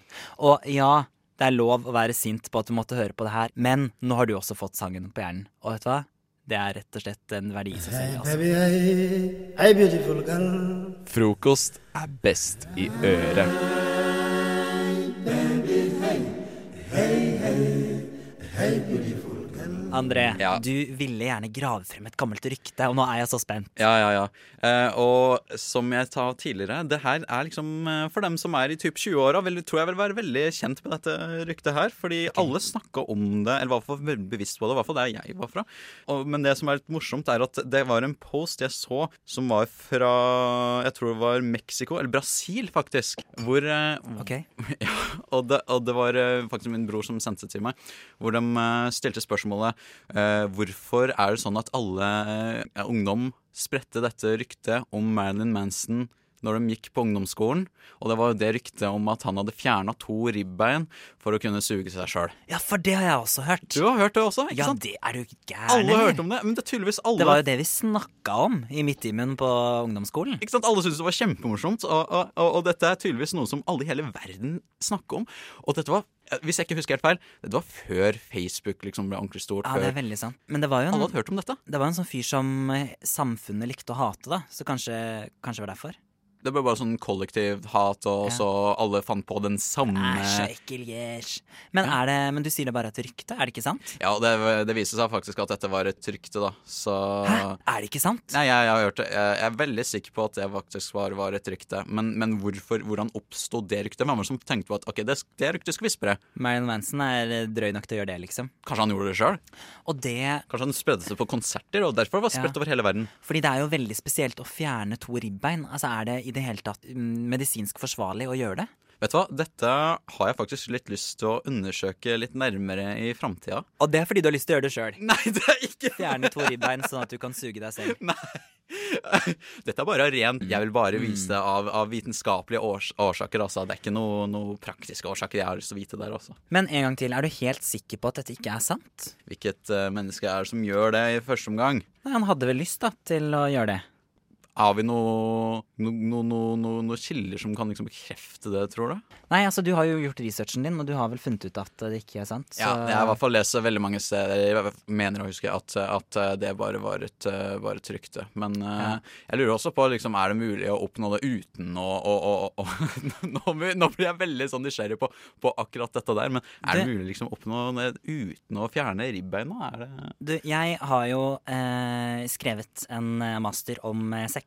Speaker 8: Og ja, det er lov å være sint på at du måtte høre på det her, men nå har du også fått sangen på hjernen. Og vet du hva? Det er rett og slett en verdi i seg selv. Altså.
Speaker 5: Frokost er best i øret.
Speaker 8: André,
Speaker 9: Ja.
Speaker 8: du ville gjerne grave frem et gammelt rykte, og nå er jeg så spent.
Speaker 9: Ja, ja, ja. Eh, og som jeg sa tidligere, det her er liksom eh, for dem som er i typ 20-åra, vil- tror jeg vil være veldig kjent med dette ryktet her. Fordi alle snakka om det, eller var for veldig bevisst på det, i hvert fall der jeg var fra. Og, men det som er litt morsomt, er at det var en post jeg så som var fra Jeg tror det var Mexico, eller Brasil, faktisk. Hvor, eh,
Speaker 8: Ok?
Speaker 9: ja, og det, og det var eh, faktisk min bror som sendte det til meg, hvor de eh, stilte spørsmålet eh, Hvorfor er det sånn at alle eh, ungdom spredte dette ryktet om Marilyn Manson når de gikk på ungdomsskolen? Og det var jo det ryktet om at han hadde fjerna to ribbein for å kunne suge seg sjøl.
Speaker 8: Ja, for det har jeg også hørt.
Speaker 9: Du har hørt det også, ikke
Speaker 8: ja,
Speaker 9: sant?
Speaker 8: det er du ikke gæren.
Speaker 9: Alle
Speaker 8: eller?
Speaker 9: hørte om det, men det er tydeligvis alle
Speaker 8: Det var jo det vi snakka om i midttimen på ungdomsskolen.
Speaker 9: Ikke sant? Alle syntes det var kjempemorsomt, og, og, og, og dette er tydeligvis noe som alle i hele verden snakker om. Og dette var, eh, hvis jeg ikke husker helt feil, dette var før Facebook liksom ble ordentlig stort.
Speaker 8: Ja, det er
Speaker 9: før
Speaker 8: veldig sant. Men det var jo
Speaker 9: alle
Speaker 8: en,
Speaker 9: hadde hørt om dette.
Speaker 8: det var en sånn fyr som eh, samfunnet likte å hate, da. Så kanskje, kanskje det var derfor.
Speaker 9: Det ble bare sånn kollektivt hat, og
Speaker 8: Ja.
Speaker 9: så alle fant på den samme
Speaker 8: Æsj, så ekkel gjesj. Men, er det, men du sier det bare er et rykte, er det ikke sant?
Speaker 9: Ja, og det, det viste seg faktisk at dette var et rykte, da. Så
Speaker 8: Hæ? Er det ikke sant?
Speaker 9: Nei, jeg, jeg har hørt det. Jeg, jeg er veldig sikker på at det faktisk var, var et rykte. Men, men hvorfor, hvordan oppsto det ryktet? Hvem var det som tenkte på at ok, det, det ryktet skal vi spre?
Speaker 8: Marilyn Manson er eh, drøy nok til å gjøre det, liksom.
Speaker 9: Kanskje han gjorde det sjøl?
Speaker 8: Og det
Speaker 9: Kanskje han spredde seg på konserter, og derfor var det spredt
Speaker 8: Ja.
Speaker 9: over hele verden.
Speaker 8: Fordi det er jo veldig spesielt å fjerne to ribbein. Altså, er det i det hele tatt mm, medisinsk forsvarlig å gjøre det?
Speaker 9: Vet du hva, dette har jeg faktisk litt lyst til å undersøke litt nærmere i framtida.
Speaker 8: Og det er fordi du har lyst til å gjøre det sjøl.
Speaker 9: Nei, det er ikke
Speaker 8: Fjerne to ribbein, sånn at du kan suge deg selv.
Speaker 9: Dette er bare ren Jeg vil
Speaker 8: Mm.
Speaker 9: bare vise det av, av vitenskapelige års årsaker, altså. Det er ikke noe, noe praktiske årsaker jeg har lyst til å vite der, altså.
Speaker 8: Men en gang til, er du helt sikker på at dette ikke er sant?
Speaker 9: Hvilket eh, menneske er det som gjør det i første omgang?
Speaker 8: Nei, han hadde vel lyst da, til å gjøre det.
Speaker 9: Har vi noen no, no, no, no, noe kilder som kan liksom bekrefte det, tror du?
Speaker 8: Nei, altså du har jo gjort researchen din, og du har vel funnet ut at det ikke er sant.
Speaker 9: Ja, jeg har i hvert fall lest veldig mange steder Jeg mener å huske at, at det bare var et, eh, var et rykte. Men eh, jeg lurer også på liksom, er det mulig å oppnå det uten å, å, å, å nå, blir- nå blir jeg veldig sånn nysgjerrig på, på akkurat dette der, men er det,
Speaker 8: Det-
Speaker 9: mulig liksom, å oppnå det uten å fjerne ribbeina? Er det
Speaker 8: Du, jeg har jo eh, skrevet en eh, master om eh, sex,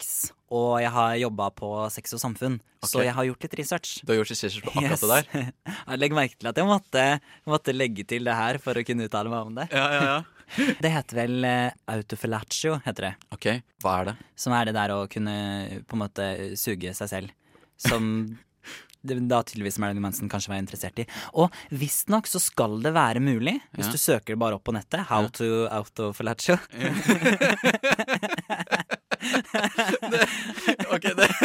Speaker 8: og jeg har jobba på sex og samfunn, så
Speaker 9: Ok.
Speaker 8: jeg har gjort litt research.
Speaker 9: Du har gjort research på akkurat det der?
Speaker 8: Jeg legger merke til at jeg måtte, måtte legge til det her for å kunne uttale meg om det.
Speaker 9: Ja, ja, ja.
Speaker 8: Det heter vel eh, autofellatio, heter det.
Speaker 9: Ok, hva er det?
Speaker 8: Som er det der å kunne på en måte suge seg selv. Som det, da tydeligvis Marilyn Manson kanskje var interessert i. Og visstnok så skal det være mulig,
Speaker 9: Ja.
Speaker 8: hvis du søker det bare opp på nettet. How to autofellatio.
Speaker 9: Ok, det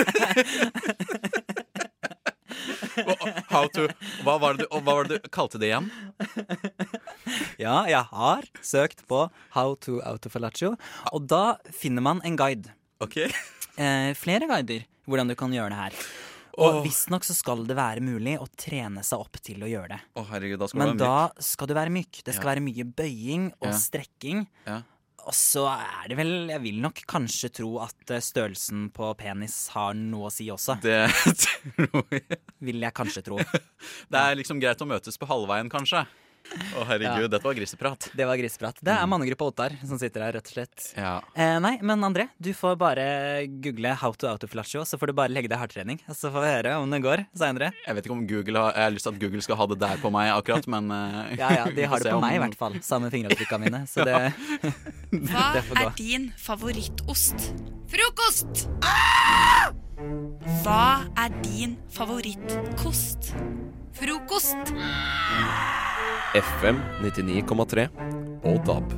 Speaker 9: Hva- How to Hva var det du, hva var det du kalte det igjen?
Speaker 8: Ja, jeg har søkt på How to autofellatio, og da finner man en guide.
Speaker 9: Ok
Speaker 8: Eh, flere guider hvordan du kan gjøre det her. Og visstnok så skal det være mulig å trene seg opp til å gjøre det.
Speaker 9: Å, herregud, da skal du
Speaker 8: Men da
Speaker 9: være myk.
Speaker 8: skal du være myk. Det skal
Speaker 9: Ja.
Speaker 8: være mye bøying og
Speaker 9: Ja.
Speaker 8: strekking.
Speaker 9: Ja.
Speaker 8: Og så er det vel Jeg vil nok kanskje tro at eh, størrelsen på penis har noe å si også.
Speaker 9: Det tror jeg.
Speaker 8: Vil jeg kanskje tro.
Speaker 9: Det er liksom greit å møtes på halvveien, kanskje. Å, herregud,
Speaker 8: Ja.
Speaker 9: dette var griseprat.
Speaker 8: Det var griseprat.
Speaker 9: Mm.
Speaker 8: Det er mannegruppa Ottar som sitter her, rett og slett.
Speaker 9: Ja.
Speaker 8: Mm. Eh, nei, men André, du får bare google 'how to autoflatio', så får du bare legge deg i hardtrening. og Så får vi høre om det går seinere.
Speaker 9: Jeg vet ikke om Google har, jeg har lyst til at Google skal ha det der på meg akkurat, men eh,
Speaker 8: Ja, ja, de
Speaker 9: vi får
Speaker 8: har det
Speaker 9: se
Speaker 8: på
Speaker 9: om-
Speaker 8: meg i hvert fall. Samme fingeravtrykka mine. Så det,
Speaker 11: Hva
Speaker 8: det får gå.
Speaker 11: er din favorittost? Frokost! Hva er din favorittkost? Frokost!
Speaker 5: FM 99,3 og DAB.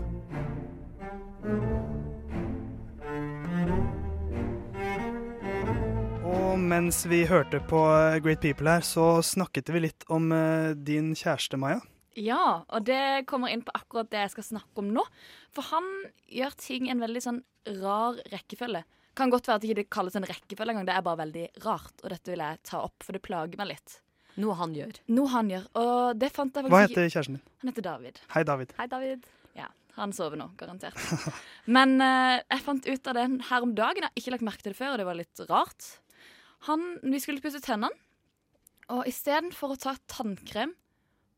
Speaker 12: Og mens vi hørte på eh, Great People her, så snakket vi litt om eh, din kjæreste, Maja.
Speaker 13: Ja, og det kommer inn på akkurat det jeg skal snakke om nå. For han gjør ting i en veldig sånn rar rekkefølge. Kan godt være at ikke det ikke kalles en rekkefølge engang, det er bare veldig rart. Og dette vil jeg ta opp, for det plager meg litt.
Speaker 14: Noe han gjør.
Speaker 13: Noe han gjør. Og det fant jeg faktisk
Speaker 12: Hva
Speaker 13: ikke-
Speaker 12: heter kjæresten din?
Speaker 13: Han heter David.
Speaker 12: Hei, David.
Speaker 13: Hei, David. Ja, han sover nå, garantert. Men eh, jeg fant ut av det her om dagen. Jeg har ikke lagt merke til det før, og det var litt rart. Han, vi skulle pusse tennene, og istedenfor å ta tannkrem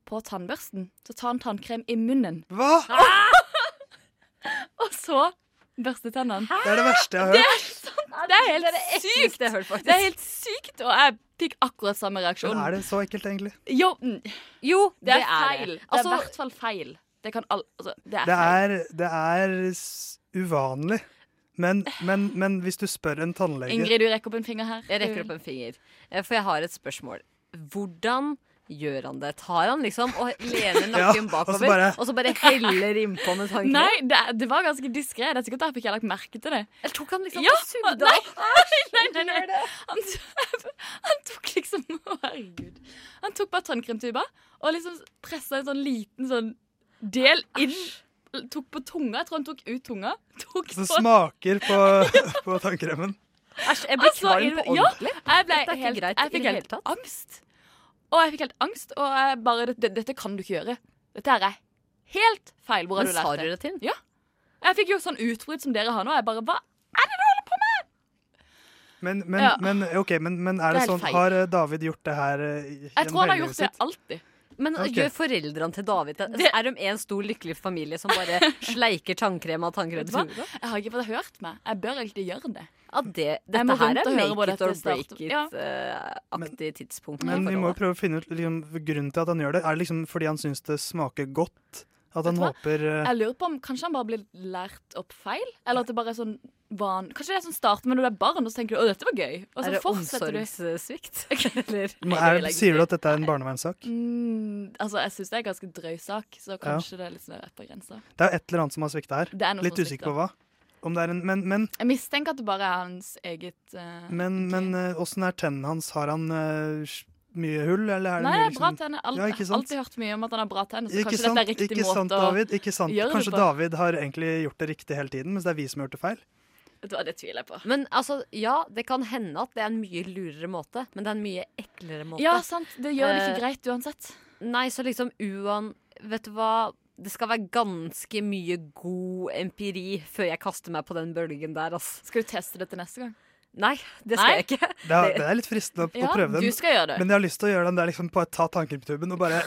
Speaker 13: på tannbørsten, så tar han tannkrem i munnen.
Speaker 12: Hva?
Speaker 13: og så børste tennene.
Speaker 12: Det er det verste jeg har
Speaker 13: Det er
Speaker 12: hørt.
Speaker 13: sant. Det er helt
Speaker 14: Det er det ekleste
Speaker 13: sykt.
Speaker 14: jeg har hørt, faktisk.
Speaker 13: Det er helt sykt, og jeg fikk akkurat samme reaksjon.
Speaker 12: Men er det så ekkelt, egentlig?
Speaker 13: Jo, mm. jo det er
Speaker 14: det er det.
Speaker 13: feil. Det er i
Speaker 14: Altså-
Speaker 13: hvert fall feil. Det kan al... Altså, det er
Speaker 12: Det
Speaker 13: feil.
Speaker 12: er, det er s- uvanlig. Men, men, men hvis du spør en tannlege
Speaker 13: Ingrid, du rekker opp en finger her.
Speaker 14: Jeg rekker opp en finger, eh, for jeg har et spørsmål. Hvordan gjør han det? Tar han liksom og lener nakken
Speaker 13: Ja, og så
Speaker 14: bakover,
Speaker 13: bare-
Speaker 14: og så bare heller innpå med tanken?
Speaker 13: Nei, det, er- det var ganske diskré. Det er sikkert derfor ikke jeg har lagt merke til det. Eller tok han
Speaker 14: liksom
Speaker 13: ja,
Speaker 14: og sugde
Speaker 13: nei,
Speaker 14: opp?
Speaker 13: nei, nei, nei, nei. Han, t- han tok liksom å, Herregud. Han tok bare tannkremtuba og liksom pressa en sånn liten sånn del inn. Tok på tunga. Jeg tror han tok ut tunga. Tok
Speaker 12: som
Speaker 13: på-
Speaker 12: smaker på, på tannkremen
Speaker 13: Æsj,
Speaker 14: jeg ble kvalm på ordentlig.
Speaker 13: Altså, Ja, jeg ble
Speaker 14: Dette er ikke
Speaker 13: helt,
Speaker 14: greit i
Speaker 13: jeg fikk
Speaker 14: det
Speaker 13: helt angst. Og jeg fikk helt angst, og jeg bare Dette, dette kan du ikke gjøre. Dette her er helt feil. Hvor har
Speaker 14: Men
Speaker 13: du lært
Speaker 14: sa
Speaker 13: det?
Speaker 14: du det til ham?
Speaker 13: Ja. Jeg fikk jo sånn utbrudd som dere har nå. Jeg bare Hva?
Speaker 12: Men, men,
Speaker 13: Ja.
Speaker 12: men, ok, men, men
Speaker 14: Det
Speaker 12: er det,
Speaker 14: er helt
Speaker 12: sånn
Speaker 14: feil.
Speaker 12: Har eh, David gjort det her eh, i-
Speaker 14: Jeg tror han har
Speaker 12: gjennom hele
Speaker 14: gjort
Speaker 12: livet sitt?
Speaker 13: alltid.
Speaker 14: Men
Speaker 12: Ok.
Speaker 14: gjør foreldrene til David det? Er de en stor, lykkelig familie som bare sleiker tannkrem av tannkrem?
Speaker 13: Vet du hva? Jeg har ikke fått hørt meg. Jeg bør egentlig gjøre det.
Speaker 14: Ja, det,
Speaker 13: Jeg
Speaker 14: dette
Speaker 13: må
Speaker 14: her
Speaker 13: rundt
Speaker 14: er
Speaker 13: og høre
Speaker 14: make
Speaker 13: hvordan
Speaker 14: it or
Speaker 13: dette
Speaker 14: break
Speaker 13: starter. Ja.
Speaker 14: it-aktig tidspunkt. i
Speaker 12: Men vi må jo
Speaker 14: forholdet.
Speaker 12: prøve å finne ut liksom, grunnen til at han gjør det. Er det liksom fordi han syns det smaker godt? At han
Speaker 13: Vet
Speaker 12: håper eh,
Speaker 13: Jeg lurer på om kanskje han bare blir lært opp feil? Eller at det bare er sånn barn Kanskje det er sånn starten med når du er barn, og så tenker du å, dette var gøy. Og så
Speaker 14: Er det
Speaker 13: fortsetter du.
Speaker 14: omsorgssvikt? Eller
Speaker 12: Men er, sier du at dette er en barnevernssak?
Speaker 13: Mm, altså, jeg syns det er en ganske drøy sak, så kanskje det er litt sånn rett på grensa.
Speaker 12: Det er jo et eller annet som har svikta her.
Speaker 13: Det er noe
Speaker 12: Litt
Speaker 13: som har
Speaker 12: usikker på hva. Om det er en, men men,
Speaker 13: Jeg mistenker at det bare er hans eget eh,
Speaker 12: men, men eh, åssen er tennene hans? Har han eh, sj- mye hull, eller er det
Speaker 13: Nei,
Speaker 12: mye liksom
Speaker 13: det er bra tenner. Alt,
Speaker 12: Ja, ikke
Speaker 13: jeg har
Speaker 12: sant?
Speaker 13: alltid hørt mye om at han har bra tenner, så
Speaker 12: Ikke
Speaker 13: kanskje
Speaker 12: sant,
Speaker 13: dette er riktig
Speaker 12: ikke sant,
Speaker 13: måte
Speaker 12: David, ikke sant.
Speaker 13: å gjøre
Speaker 12: Kanskje
Speaker 13: det på.
Speaker 12: David har egentlig gjort det riktig hele tiden, mens det er vi som har gjort det feil.
Speaker 13: Vet du hva, det tviler jeg på.
Speaker 14: Men altså, ja, det kan hende at det er en mye lurere måte, men det er en mye eklere måte.
Speaker 13: Ja, sant. Det gjør det ikke
Speaker 14: Eh,
Speaker 13: greit uansett.
Speaker 14: Nei, så liksom uan... Vet du hva? Det skal være ganske mye god empiri før jeg kaster meg på den bølgen der, ass.
Speaker 13: Skal du teste det til neste gang?
Speaker 14: Nei, det skal
Speaker 13: Nei?
Speaker 14: jeg ikke.
Speaker 12: Det er, det er litt fristende å,
Speaker 14: Ja,
Speaker 12: å prøve den.
Speaker 14: du skal gjøre det.
Speaker 12: Men jeg har lyst til å gjøre den der liksom på et ta tanken på tuben og bare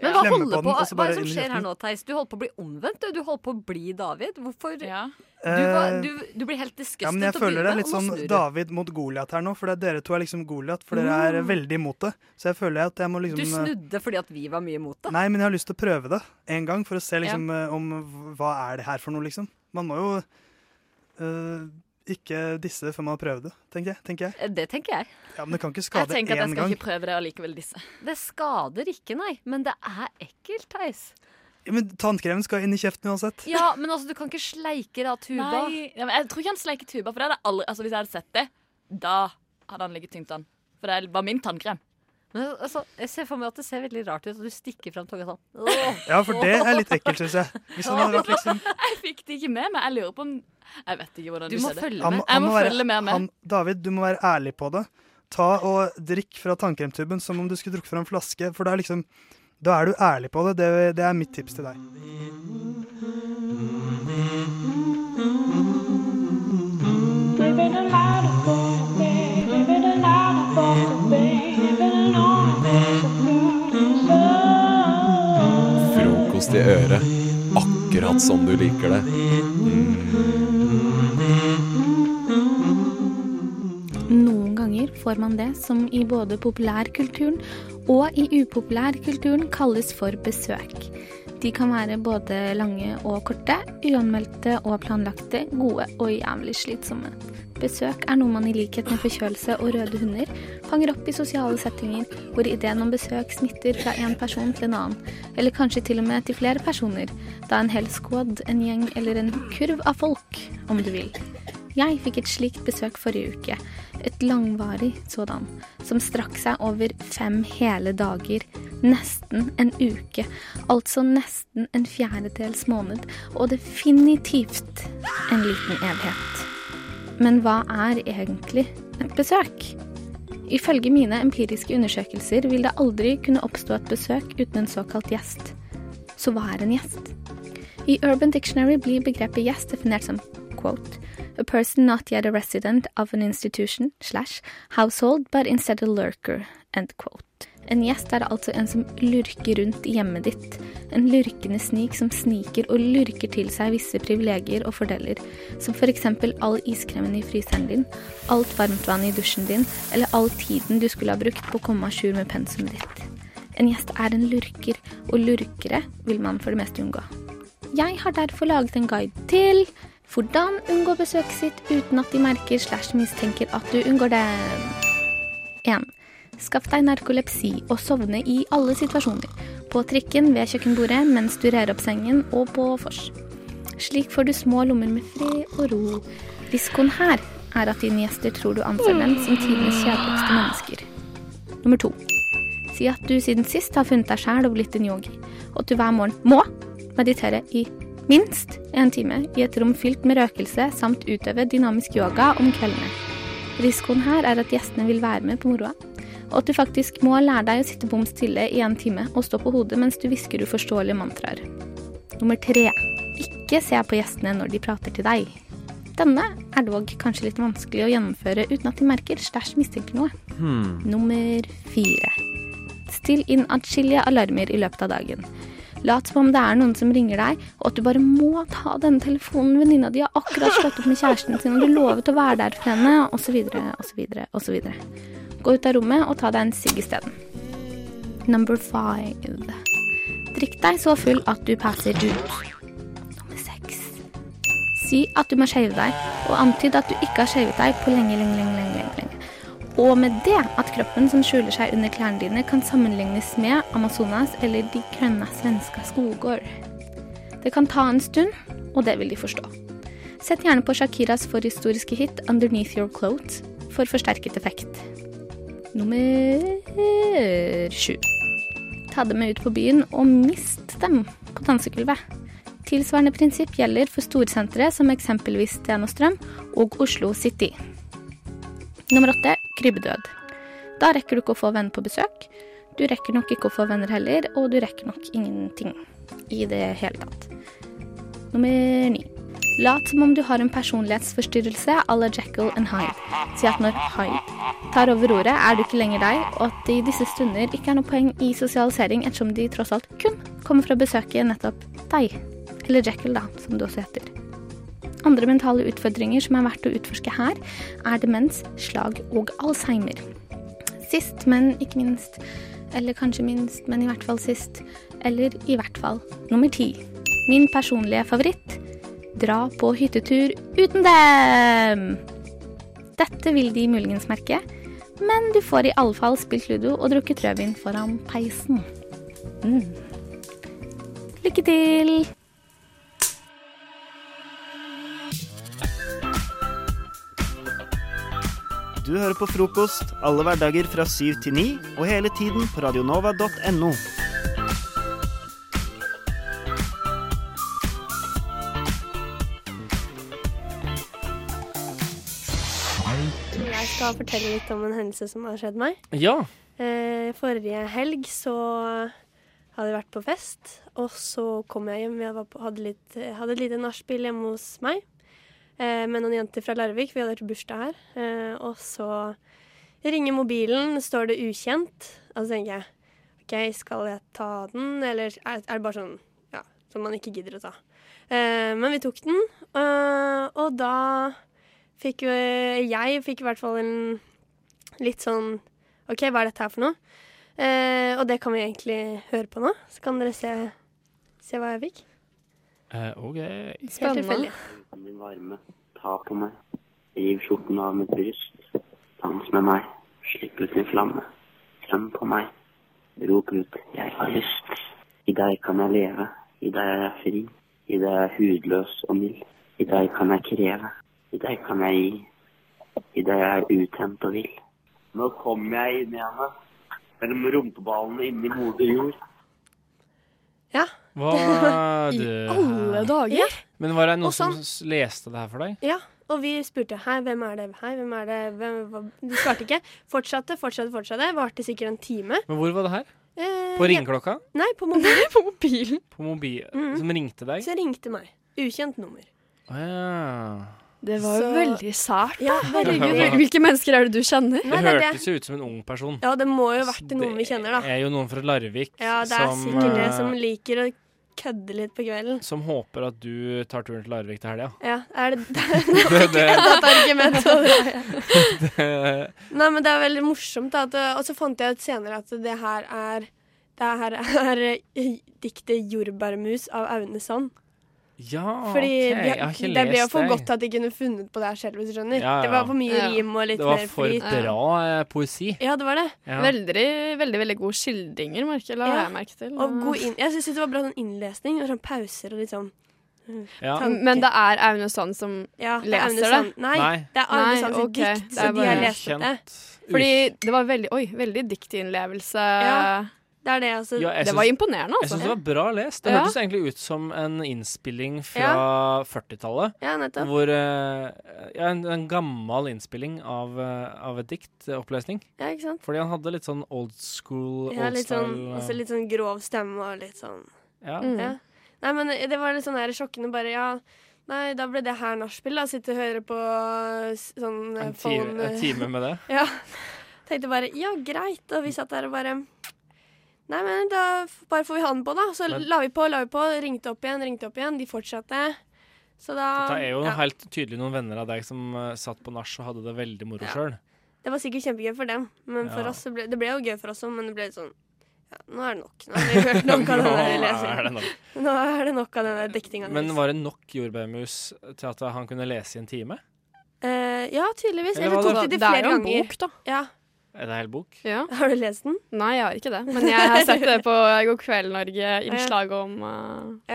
Speaker 14: Men hva
Speaker 12: klemme
Speaker 14: holder på,
Speaker 12: den.
Speaker 14: Hva er
Speaker 12: og så altså bare
Speaker 14: det som
Speaker 12: inn i
Speaker 14: skjer her
Speaker 12: kjeften.
Speaker 14: nå, Theis? Du holder på å bli omvendt, du. Du holder på å bli David. Hvorfor du, var,
Speaker 12: Eh,
Speaker 14: du, du blir helt disgusted
Speaker 12: Ja, men jeg
Speaker 14: til å
Speaker 12: føler det er
Speaker 14: begynne
Speaker 12: litt sånn
Speaker 14: med, og nå snur du.
Speaker 12: David mot Goliat her nå, for det er dere to er liksom Goliat, for dere er
Speaker 14: Mm.
Speaker 12: veldig imot det. Så jeg føler at jeg må liksom
Speaker 14: Du snudde fordi at vi var mye imot det.
Speaker 12: Nei, men jeg har lyst til å prøve det en gang, for å se liksom
Speaker 14: Ja.
Speaker 12: eh, om hva er det her for noe, liksom. Man må jo eh, ikke disse før man har prøvd det, tenker jeg. Tenker jeg.
Speaker 14: Eh, Det tenker jeg.
Speaker 12: Ja, men det kan ikke
Speaker 13: Jeg
Speaker 12: skade én
Speaker 13: tenker at jeg skal
Speaker 12: gang.
Speaker 13: ikke prøve det og likevel disse.
Speaker 14: Det skader ikke, nei. Men det er ekkelt, Theis.
Speaker 12: Ja, Men tannkremen skal inn i kjeften uansett.
Speaker 14: Ja, men altså, du kan ikke sleike det av tuba.
Speaker 13: Nei, ja, men jeg tror ikke han sleiker tuba, for det hadde jeg aldri, altså, hvis jeg hadde sett det, da hadde han ligget tynt an. For det var min tannkrem.
Speaker 14: Men altså, jeg ser for meg at det ser veldig rart ut, og du stikker fram tunga sånn. Åh.
Speaker 12: Ja, for det er litt ekkelt, syns jeg. Hvis han hadde vært liksom
Speaker 13: Jeg fikk det ikke med meg. Jeg lurer på om Jeg vet ikke hvordan
Speaker 14: Du
Speaker 13: det
Speaker 14: må
Speaker 13: skjedde.
Speaker 14: følge
Speaker 12: Han-
Speaker 13: jeg
Speaker 12: han
Speaker 13: må
Speaker 12: må være-
Speaker 13: følge mer med.
Speaker 12: han- David, du må være ærlig på det. Ta og drikk fra tannkremtuben som om du skulle drukket fra en flaske. For da er, liksom, da er du ærlig på det. det. Det er mitt tips til deg.
Speaker 5: Frokost i øret, akkurat som du liker det. Mm,
Speaker 15: Noen ganger får man det som i både populærkulturen og i upopulærkulturen kalles for besøk. De kan være både lange og korte, uanmeldte og planlagte, gode og jævlig slitsomme. Besøk er noe man i likhet med forkjølelse og røde hunder fanger opp i sosiale settinger hvor ideen om besøk smitter fra en person til en annen, eller kanskje til og med til flere personer, da en hel squad, en gjeng eller en kurv av folk, om du vil. Jeg fikk et slikt besøk forrige uke. Et langvarig sådan. Som strakk seg over fem hele dager. Nesten en uke. Altså nesten en fjerdedels måned. Og definitivt en liten evighet. Men hva er egentlig et besøk? Ifølge mine empiriske undersøkelser vil det aldri kunne oppstå et besøk uten en såkalt gjest. Så hva er en gjest? I Urban Dictionary blir begrepet gjest definert som quote, a person not yet a resident of an institution slash household, but instead a lurker, end quote. En gjest er altså en som lurker rundt i hjemmet ditt. En lurkende snik som sniker og lurker til seg visse privilegier og fordeler, som for eksempel all iskremen i fryseren din, alt varmt vann i dusjen din, eller all tiden du skulle ha brukt på å komme à jour med pensumet ditt. En gjest er en lurker, og lurkere vil man for det meste unngå. Jeg har derfor laget en guide til hvordan unngå besøket sitt uten at de merker slash mistenker at du unngår det. 1. Skaff deg narkolepsi og sovne i alle situasjoner. På trikken, ved kjøkkenbordet, mens du rer opp sengen, og på vors. Slik får du små lommer med fred og ro. Risikoen her er at dine gjester tror du anser dem som tidenes kjedeligste mennesker. Nummer to. Si at du siden sist har funnet deg sjæl og blitt en yogi, og at du hver morgen må meditere i minst en time i et rom fylt med røkelse samt utøve dynamisk yoga om kveldene. Risikoen her er at gjestene vil være med på moroa, og at du faktisk må lære deg å sitte bom stille i en time og stå på hodet mens du hvisker uforståelige mantraer. Nummer tre. Ikke se på gjestene når de prater til deg. Denne er dog kanskje litt vanskelig å gjennomføre uten at de merker stæsj mistenker noe. Nummer fire. Still inn atskillige alarmer i løpet av dagen. Lat som om det er noen som ringer deg, og at du bare må ta denne telefonen. Venninna di har akkurat slått opp med kjæresten sin, og du lovet å være der for henne, osv., osv., osv. Gå ut av rommet og ta deg en sigg isteden. Number five. Drikk deg så full at du passer ut. Nummer seks. Si at du må shave deg, og antyd at du ikke har shavet deg på lenge, lenge, lenge, lenge, lenge, lenge. Og med det at kroppen som skjuler seg under klærne dine, kan sammenlignes med Amazonas eller de grønne svenske skoger. Det kan ta en stund, og det vil de forstå. Sett gjerne på Shakiras forhistoriske hit 'Underneath Your Clothes' for forsterket effekt. Nummer sju. Ta dem med ut på byen og mist dem på dansegulvet. Tilsvarende prinsipp gjelder for storsentre som eksempelvis Stenastrøm og Oslo City. Nummer åtte krybbedød. Da rekker du ikke å få venner på besøk. Du rekker nok ikke å få venner heller, og du rekker nok ingenting i det hele tatt. Nummer ni. Lat som om du har en personlighetsforstyrrelse à la Jekyll and Hyde. Si at når Hyde tar over roret, er du ikke lenger deg, og at det i disse stunder ikke er noe poeng i sosialisering ettersom de tross alt kun kommer for å besøke nettopp deg. Eller Jekyll, da, som det også heter. Andre mentale utfordringer som er verdt å utforske her, er demens, slag og alzheimer. Sist, men ikke minst, eller kanskje minst, men i hvert fall sist, eller i hvert fall nummer ti. Min personlige favoritt dra på hyttetur uten dem! Dette vil de muligens merke, men du får i alle fall spilt ludo og drukket rødvin foran peisen. Mm. Lykke til!
Speaker 16: Du hører på frokost alle hverdager fra syv til ni, og hele tiden på radionova.no.
Speaker 11: Jeg skal fortelle litt om en hendelse som har skjedd meg.
Speaker 17: Ja.
Speaker 11: Eh, forrige helg så hadde jeg vært på fest, og så kom jeg hjem. Jeg var på, hadde, litt, hadde et lite nachspiel hjemme hos meg eh, med noen jenter fra Larvik. Vi hadde vært bursdag her. Eh, og så ringer mobilen, står det 'ukjent', og så tenker jeg OK, skal jeg ta den, eller er, er det bare sånn ja, som man ikke gidder å ta? Eh, men vi tok den, eh, og da fikk jo eh, Jeg fikk i hvert fall en litt sånn OK, hva er dette her for noe? Eh, og det kan vi egentlig høre på nå. Så kan dere se, se hva jeg fikk.
Speaker 17: Eh, OK.
Speaker 11: Helt tilfeldig.
Speaker 18: Kan din varme ta på meg? Riv skjorten av mitt bryst. Dans med meg. Slipp ut min flamme. Klem på meg. Rop ut 'jeg har lyst'. I deg kan jeg leve. I deg er jeg fri. I deg er jeg hudløs og mild. I deg kan jeg kreve. I deg kan jeg gi. I deg er jeg utent og vill. Nå kom jeg inn i henne. Mellom rumpeballene inni moder jord.
Speaker 17: Hva er
Speaker 11: I
Speaker 17: det
Speaker 11: alle dager!
Speaker 17: Men var det noen
Speaker 11: Og sånn-
Speaker 17: som s- leste det her for deg?
Speaker 11: Ja, og vi spurte hei, hvem er det, hei, hvem er det, hvem, hva? Du svarte ikke. Fortsatte, fortsatte, fortsatte. Varte sikkert en time.
Speaker 17: Men hvor var det her?
Speaker 11: Eh,
Speaker 17: På
Speaker 11: ja.
Speaker 17: ringeklokka?
Speaker 11: Nei, på mobilen. på mobilen.
Speaker 17: På mobil...
Speaker 11: Mm.
Speaker 17: Som ringte deg?
Speaker 11: Så ringte meg. Ukjent nummer.
Speaker 17: Å ja.
Speaker 14: Det var jo
Speaker 11: Så-
Speaker 14: veldig sært. da.
Speaker 11: Ja, veldig
Speaker 14: Herregud,
Speaker 17: gøy.
Speaker 14: Hvilke mennesker er det du kjenner?
Speaker 17: Det hørtes jo ut som en ung person.
Speaker 11: Ja, det må jo ha vært noen vi kjenner,
Speaker 17: Det
Speaker 11: da.
Speaker 17: er jo noen fra Larvik
Speaker 11: Ja, det er
Speaker 17: som,
Speaker 11: sikkert det
Speaker 17: eh,
Speaker 11: som liker å kødde litt på kvelden.
Speaker 17: som håper at du tar turen til Larvik til helga.
Speaker 11: Ja, er det det,
Speaker 17: Det-
Speaker 11: det
Speaker 17: det-
Speaker 11: er et argument å dra, ja.
Speaker 17: Det-
Speaker 11: Nei, men det er veldig morsomt. da, At, det- og så fant jeg ut senere at det her er det her er eh, diktet 'Jordbærmus' av Aune Sand.
Speaker 17: Ja,
Speaker 11: Fordi
Speaker 17: ok,
Speaker 11: de,
Speaker 17: jeg har ikke
Speaker 11: det ble jo
Speaker 17: lest
Speaker 11: for
Speaker 17: det.
Speaker 11: godt at de kunne funnet på det her selv, hvis du skjønner.
Speaker 17: Ja,
Speaker 11: Det var
Speaker 17: ja.
Speaker 11: for mye
Speaker 17: Ja.
Speaker 11: rim og litt
Speaker 17: Det var
Speaker 11: mer
Speaker 17: for
Speaker 11: flyt.
Speaker 17: bra eh, poesi.
Speaker 11: Ja, det var det.
Speaker 17: Ja.
Speaker 14: Veldig, veldig veldig gode skildringer, merker jeg. La
Speaker 11: Ja.
Speaker 14: jeg merke til.
Speaker 11: Og god inn, jeg syns det var bra sånn innlesning og sånn pauser og litt sånn mm, tanke.
Speaker 14: Men det er Aune Sand som
Speaker 11: Ja, det er Aune
Speaker 14: leser det?
Speaker 11: Sand. Nei, Nei. det er Aune
Speaker 14: Nei,
Speaker 11: Sand sitt
Speaker 14: ok,
Speaker 11: dikt,
Speaker 14: det er
Speaker 11: så de har
Speaker 14: bare-
Speaker 11: lest opp det. Ukjent.
Speaker 14: Fordi det var veldig Oi, veldig diktinnlevelse.
Speaker 11: Ja, det er det, altså.
Speaker 17: Ja, jeg
Speaker 14: det
Speaker 17: syns-
Speaker 14: var imponerende,
Speaker 17: Jeg
Speaker 14: altså.
Speaker 17: syns det var bra lest. Det
Speaker 14: Ja.
Speaker 17: hørtes egentlig ut som en innspilling fra
Speaker 14: Ja.
Speaker 17: 40-tallet.
Speaker 11: Ja, nettopp.
Speaker 17: hvor eh, ja, en, en gammel innspilling av, eh, av et dikt, eh, opplesning.
Speaker 11: Ja, ikke sant?
Speaker 17: Fordi han hadde litt sånn old school,
Speaker 11: Ja,
Speaker 17: old
Speaker 11: litt sånn,
Speaker 17: style eh,
Speaker 11: også litt sånn grov stemme og litt sånn
Speaker 17: Ja.
Speaker 11: Mm. ja. Nei, men det var litt sånn her sjokkende bare, ja Nei, da ble det her nachspiel, da. Sitte og høre på eh, s- sånn eh,
Speaker 17: En ti-
Speaker 11: phone-
Speaker 17: en time med det.
Speaker 11: Ja. Tenkte bare ja, greit. Og vi satt der og bare Nei, men da f- bare får vi ha den på, da. Så
Speaker 17: Men-
Speaker 11: la vi på, la vi på. Ringte opp igjen, ringte opp igjen. De fortsatte. Så da
Speaker 17: Det er jo
Speaker 11: ja,
Speaker 17: helt tydelig noen venner av deg som eh, satt på nach og hadde det veldig moro sjøl.
Speaker 11: Det var sikkert kjempegøy for dem, men
Speaker 17: Ja.
Speaker 11: for oss så ble, det ble jo gøy for oss òg, men det ble litt sånn Ja, nå er det nok. Nå har vi hørt nok av den
Speaker 17: Nå
Speaker 11: der lesingen.
Speaker 17: er det nok.
Speaker 11: Nå er det nok av den der dektinga.
Speaker 17: Men var det nok jordbærmus til at han kunne lese i en time?
Speaker 11: Eh, ja, tydeligvis.
Speaker 17: Eller
Speaker 11: Eller
Speaker 17: hva
Speaker 11: tok
Speaker 17: da?
Speaker 11: de det
Speaker 17: Det er
Speaker 11: flere
Speaker 17: jo en
Speaker 11: ganger.
Speaker 17: bok,
Speaker 11: da. Ja.
Speaker 17: Er det hel bok?
Speaker 11: Har du lest den?
Speaker 19: Nei, jeg har ikke det. Men jeg har sett det på God kveld, Norge-innslag om eh,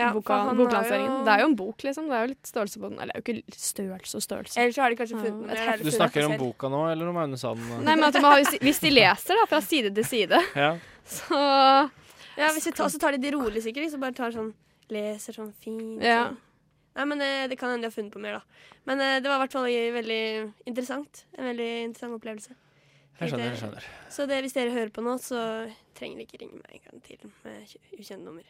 Speaker 11: Ja, for
Speaker 19: boka,
Speaker 11: han har
Speaker 19: boklanseringen.
Speaker 11: jo-
Speaker 19: Det er jo en bok, liksom. Det er jo litt størrelse på den. Eller det er jo ikke størrelse og størrelse.
Speaker 11: Ellers så har de kanskje funnet
Speaker 19: Ja.
Speaker 11: den. eller er det
Speaker 17: Du
Speaker 11: funnet
Speaker 17: snakker
Speaker 11: for
Speaker 17: om
Speaker 11: selv?
Speaker 17: boka nå, eller om Aune Sand?
Speaker 19: Nei, men at de har, hvis de leser da, fra side til side,
Speaker 17: Ja.
Speaker 19: så
Speaker 11: Ja, hvis vi tar, så tar de det rolig, sikkert. Så bare tar sånn Leser sånn fint.
Speaker 19: Ja.
Speaker 11: Sånn. Nei, men eh, det kan hende de har funnet på mer, da. Men eh, det var i hvert fall veldig interessant. En veldig interessant opplevelse.
Speaker 17: Jeg skjønner,
Speaker 11: Tenkte-
Speaker 17: jeg skjønner.
Speaker 11: Så det, hvis dere hører på nå, så trenger dere ikke ringe meg en gang til med kj- ukjent nummer.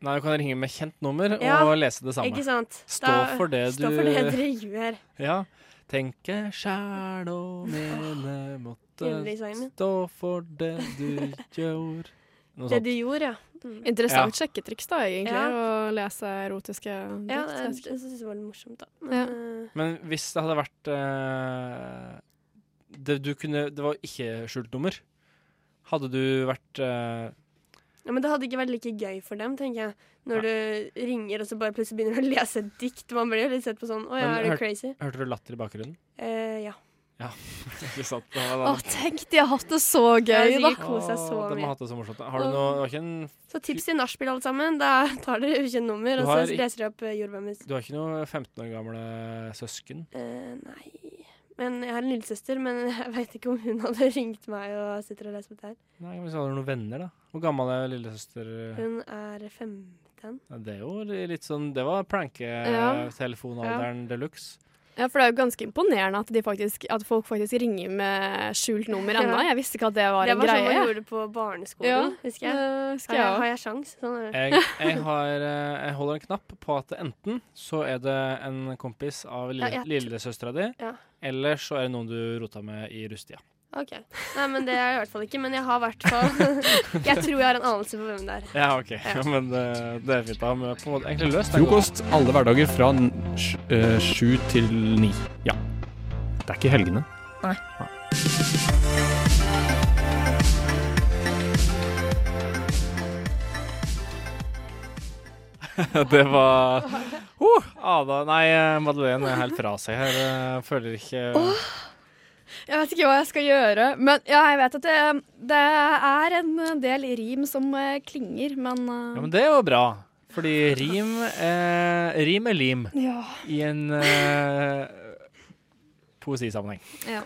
Speaker 17: Nei, du kan ringe med kjent nummer og
Speaker 11: Ja,
Speaker 17: lese det samme.
Speaker 11: Ikke sant?
Speaker 17: Stå
Speaker 11: Da-
Speaker 17: for det du
Speaker 11: Stå for det dere gjør.
Speaker 17: Ja. Tenke sjæl og mene måtte
Speaker 11: Juledesignen min.
Speaker 17: stå for det du gjorde Noe
Speaker 11: Det
Speaker 17: sånt.
Speaker 11: du gjorde, ja.
Speaker 19: Mm. Interessant
Speaker 17: Ja.
Speaker 19: sjekketriks, da, egentlig.
Speaker 11: Ja.
Speaker 19: Å lese erotiske dikt.
Speaker 11: Ja,
Speaker 19: jeg
Speaker 11: det,
Speaker 19: vet ikke.
Speaker 11: det syns jeg var litt morsomt, da. Men, eh,
Speaker 17: Men hvis det hadde vært eh, det, du kunne, det var ikke skjult nummer. Hadde du vært eh,
Speaker 11: ja, men det hadde ikke vært like gøy for dem, tenker jeg. Når du ringer, og så bare plutselig begynner du å lese et dikt. Man blir jo litt sett på sånn Å ja,
Speaker 17: men
Speaker 11: er du
Speaker 17: hør-
Speaker 11: crazy?
Speaker 17: Hørte du latter i bakgrunnen?
Speaker 11: Eh, ja.
Speaker 17: Ja. ikke sant? Det var-
Speaker 14: Å, tenk, de har hatt det så
Speaker 11: Jeg
Speaker 14: gøy,
Speaker 11: har
Speaker 14: da.
Speaker 11: sikkert koset seg så
Speaker 17: Å, de har
Speaker 11: mye.
Speaker 17: hatt det så morsomt. Har du noe det var ikke en,
Speaker 11: Så tips til nachspiel, alle sammen. Da tar dere ukjent nummer,
Speaker 17: Du
Speaker 11: og
Speaker 17: har
Speaker 11: så
Speaker 17: ikk-
Speaker 11: leser dere opp eh, jordbærmus.
Speaker 17: Du har ikke noe 15 år gamle søsken?
Speaker 11: Eh, nei Men jeg har en lillesøster, men jeg veit ikke om hun hadde ringt meg og sitter og leser på det her.
Speaker 17: Nei, Hvis du hadde noen venner, da? Hvor gammel er lillesøster?
Speaker 11: Hun er 15.
Speaker 17: Ja, Det er jo litt sånn Det var
Speaker 19: Ja.
Speaker 17: planketelefonalderen de luxe.
Speaker 19: Ja, for det er jo ganske imponerende at, de faktisk, at folk faktisk ringer med skjult nummer
Speaker 11: Ja.
Speaker 19: ennå. Jeg visste ikke at det var
Speaker 11: Det
Speaker 19: en
Speaker 11: var sånn
Speaker 19: greie.
Speaker 11: man gjorde på barneskolen,
Speaker 19: Ja,
Speaker 11: husker jeg.
Speaker 19: det husker
Speaker 11: har,
Speaker 19: jeg også.
Speaker 11: jeg har jeg sjans? Sånn er det.
Speaker 17: Jeg, jeg, har, eh, jeg holder en knapp på at enten så er det en kompis av lille,
Speaker 11: Ja, jeg tr-
Speaker 17: lillesøstera di,
Speaker 11: Ja.
Speaker 17: eller så er det noen du rota med i rustida.
Speaker 11: Ok. Nei, men det er jeg i hvert fall ikke. Men jeg har i hvert fall Jeg tror jeg har en anelse på hvem det er.
Speaker 17: Ja, OK. Men det, det er fint. Da har vi på en måte egentlig løst den gåten.
Speaker 7: Frokost alle hverdager fra n- sj- eh, sju til ni. Ja. Det er ikke helgene.
Speaker 20: Nei.
Speaker 17: det var oh, Ada Nei, Madeleine er helt fra seg her. Jeg Føler ikke
Speaker 19: Jeg vet ikke hva jeg skal gjøre, men ja, jeg vet at det, det er en del rim som eh, klinger, men
Speaker 17: Ja,
Speaker 19: eh,
Speaker 17: Men det er jo bra. Fordi rim, eh, rim er lim
Speaker 19: Ja.
Speaker 17: i en eh, poesisammenheng.
Speaker 19: ja.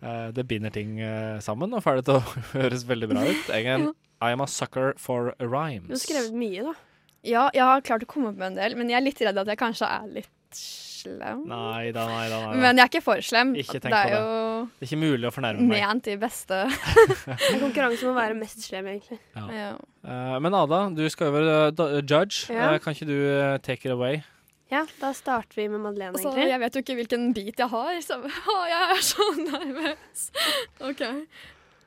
Speaker 17: Eh, det binder ting eh, sammen og får det til å høres veldig bra ut. Jeg er, en- I am a sucker for
Speaker 19: Du
Speaker 17: rhymes.
Speaker 19: har skrevet
Speaker 11: mye,
Speaker 19: da. Ja, jeg har klart å komme opp med en del, men jeg er litt redd at jeg kanskje er litt slem.
Speaker 17: Nei da, nei da. Nei, da.
Speaker 19: Men jeg er ikke for slem.
Speaker 17: Ikke tenk
Speaker 19: det er
Speaker 17: på det.
Speaker 19: jo
Speaker 17: Det er ikke mulig å fornærme meg.
Speaker 19: ment i beste
Speaker 11: Konkurranse om å være mest slem, egentlig.
Speaker 19: Ja.
Speaker 17: Eh, men Ada, du skal jo være eh, da- judge.
Speaker 11: Ja.
Speaker 17: Eh, kan ikke du eh, take it away?
Speaker 11: Ja, da starter vi med Madeleine,
Speaker 19: Altså,
Speaker 11: egentlig.
Speaker 19: jeg vet jo ikke hvilken bit jeg har. Så, å, jeg er så nervøs. OK.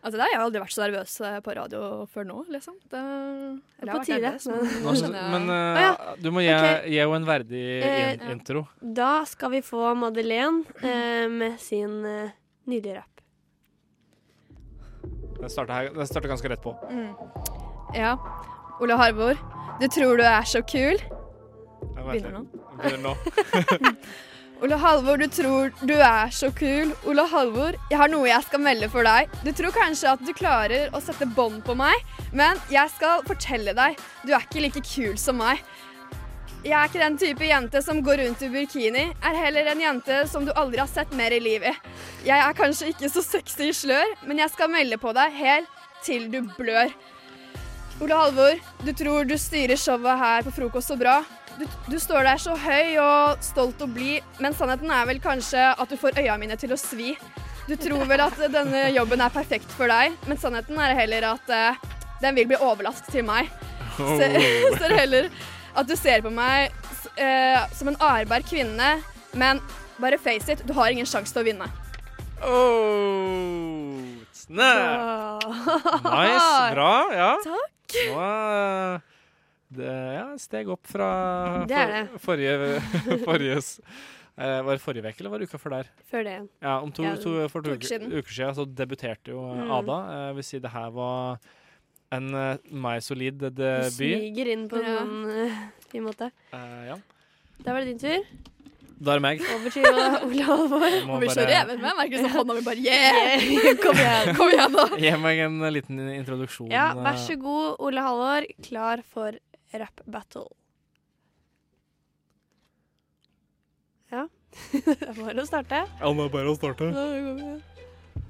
Speaker 19: Altså, det har jeg jo aldri vært så nervøs eh, på radio før nå, liksom. Det, eller jeg har
Speaker 11: På
Speaker 19: vært
Speaker 11: tide.
Speaker 19: nervøs, men-
Speaker 17: Nå, men eh,
Speaker 11: Å, ja.
Speaker 17: du må gi
Speaker 11: Ok.
Speaker 17: gi henne en verdig
Speaker 11: Eh,
Speaker 17: in intro.
Speaker 11: Da skal vi få Madeleine eh, med sin eh, nydelige rapp.
Speaker 17: Den starter, her, den starter ganske rett på.
Speaker 19: Mm. Ja. Ole Harbor, du tror du er så kul.
Speaker 17: Jeg vet
Speaker 19: Begynner nå.
Speaker 17: ikke. Begynner nå.
Speaker 19: Ole Halvor, du tror du er så kul. Ole Halvor, jeg har noe jeg skal melde for deg. Du tror kanskje at du klarer å sette bånd på meg, men jeg skal fortelle deg, du er ikke like kul som meg. Jeg er ikke den type jente som går rundt i burkini, er heller en jente som du aldri har sett mer i livet. Jeg er kanskje ikke så sexy i slør, men jeg skal melde på deg helt til du blør. Ole Halvor, du tror du styrer showet her på frokost så bra. Du, du står der så høy og stolt og blid, men sannheten er vel kanskje at du får øya mine til å svi. Du tror vel at denne jobben er perfekt for deg, men sannheten er heller at eh, den vil bli overlatt til meg. Ser,
Speaker 10: Oh.
Speaker 19: ser heller at du ser på meg s- eh, som en arbar kvinne, men bare face it, du har ingen sjanse til å vinne.
Speaker 17: Oh, snap! Nice. Bra. Ja. Takk. Nå er det ja, et steg opp fra
Speaker 11: Det er det.
Speaker 17: for, forrige, forrige s- eh, Var det forrige uke, eller var det uka før der?
Speaker 11: Før det igjen.
Speaker 17: Ja, om to,
Speaker 11: Ja,
Speaker 17: to, for to
Speaker 11: to
Speaker 17: uker
Speaker 11: uker siden.
Speaker 17: uker siden så debuterte jo eh,
Speaker 11: Mm.
Speaker 17: Ada. Eh, Jeg vil si det her var en eh, meg solid eh,
Speaker 11: Du
Speaker 17: debut.
Speaker 11: smyger inn på
Speaker 19: Ja.
Speaker 11: noen eh, fin måte.
Speaker 17: Eh, ja.
Speaker 11: Da var det din tur.
Speaker 17: Da er det meg.
Speaker 11: Over til Ola- Ola Halvor.
Speaker 17: Jeg må
Speaker 19: Og vi
Speaker 17: bare-
Speaker 19: kjører even med. Merker liksom hånda mi bare Yeah! Kom igjen, kom igjen nå.
Speaker 17: Gi meg en eh, liten introduksjon. eh.
Speaker 11: Ja, vær så god, Ola Halvor. Klar for rap battle. Ja. Det er bare å starte.
Speaker 17: Ja, nå er det bare å starte.
Speaker 11: Da går vi.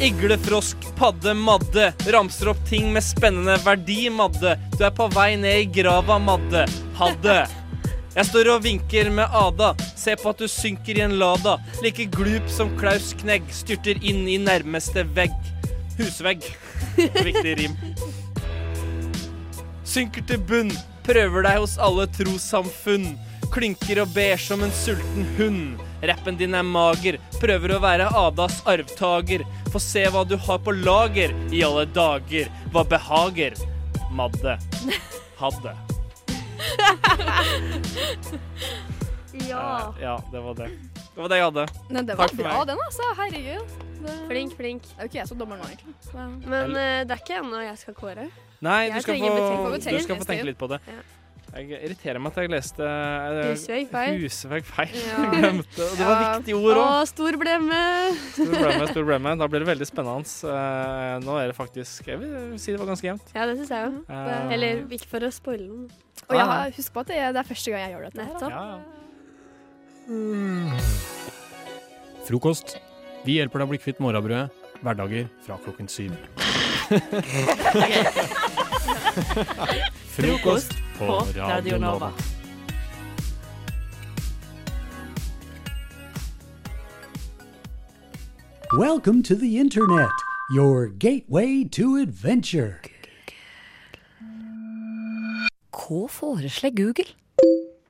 Speaker 17: Igle, frosk, padde, madde. Ramser opp ting med spennende verdi, madde. Du er på vei ned i grava, madde. Hadde. Jeg står og vinker med Ada. Se på at du synker i en Lada. Like glup som Klaus Knegg. Styrter inn i nærmeste vegg. Husvegg. Viktig rim. Synker til bunn. Prøver deg hos alle trossamfunn. Klynker og ber som en sulten hund. Rappen din er mager. Prøver å være Adas arvtaker. Få se hva du har på lager. I alle dager. Hva behager. Madde. Hadde.
Speaker 11: Ja.
Speaker 17: Eh, ja, det var det. Det var det jeg hadde.
Speaker 19: Nei, det var
Speaker 17: Takk for
Speaker 19: bra,
Speaker 17: meg.
Speaker 19: den, altså. Herregud. Det...
Speaker 11: Flink, flink.
Speaker 19: Det er jo ikke jeg som dommer nå, egentlig.
Speaker 11: Men eh, det er ikke ennå jeg skal kåre.
Speaker 17: Nei, du
Speaker 11: Jeg
Speaker 17: skal,
Speaker 11: trenger
Speaker 17: få,
Speaker 11: betalt.
Speaker 17: du skal få tenke litt på det.
Speaker 11: Ja.
Speaker 17: Jeg irriterer meg at jeg leste eh,
Speaker 11: Husvegg feil.
Speaker 17: Husvegg feil.
Speaker 11: Ja.
Speaker 17: Glemte. Og det var
Speaker 11: Ja.
Speaker 17: viktige ord òg.
Speaker 11: Å, stor blemme.
Speaker 17: Stor blemme, stor blemme. Da blir det veldig spennende. Eh, nå er det faktisk Jeg vil si det var ganske jevnt.
Speaker 11: Ja, det syns jeg jo.
Speaker 17: Eh. Ah.
Speaker 11: Eller ikke for å spoile noen.
Speaker 17: Og jeg har-
Speaker 19: husk på at det, er første gang jeg gjør dette.
Speaker 11: Nettopp.
Speaker 7: Frokost. Vi hjelper deg å bli kvitt morrabrødet. Hverdager fra klokken syv.
Speaker 10: Frokost på Radio Nova.
Speaker 5: Welcome to the Internet, your gateway to adventure.
Speaker 14: Hva foreslår Google?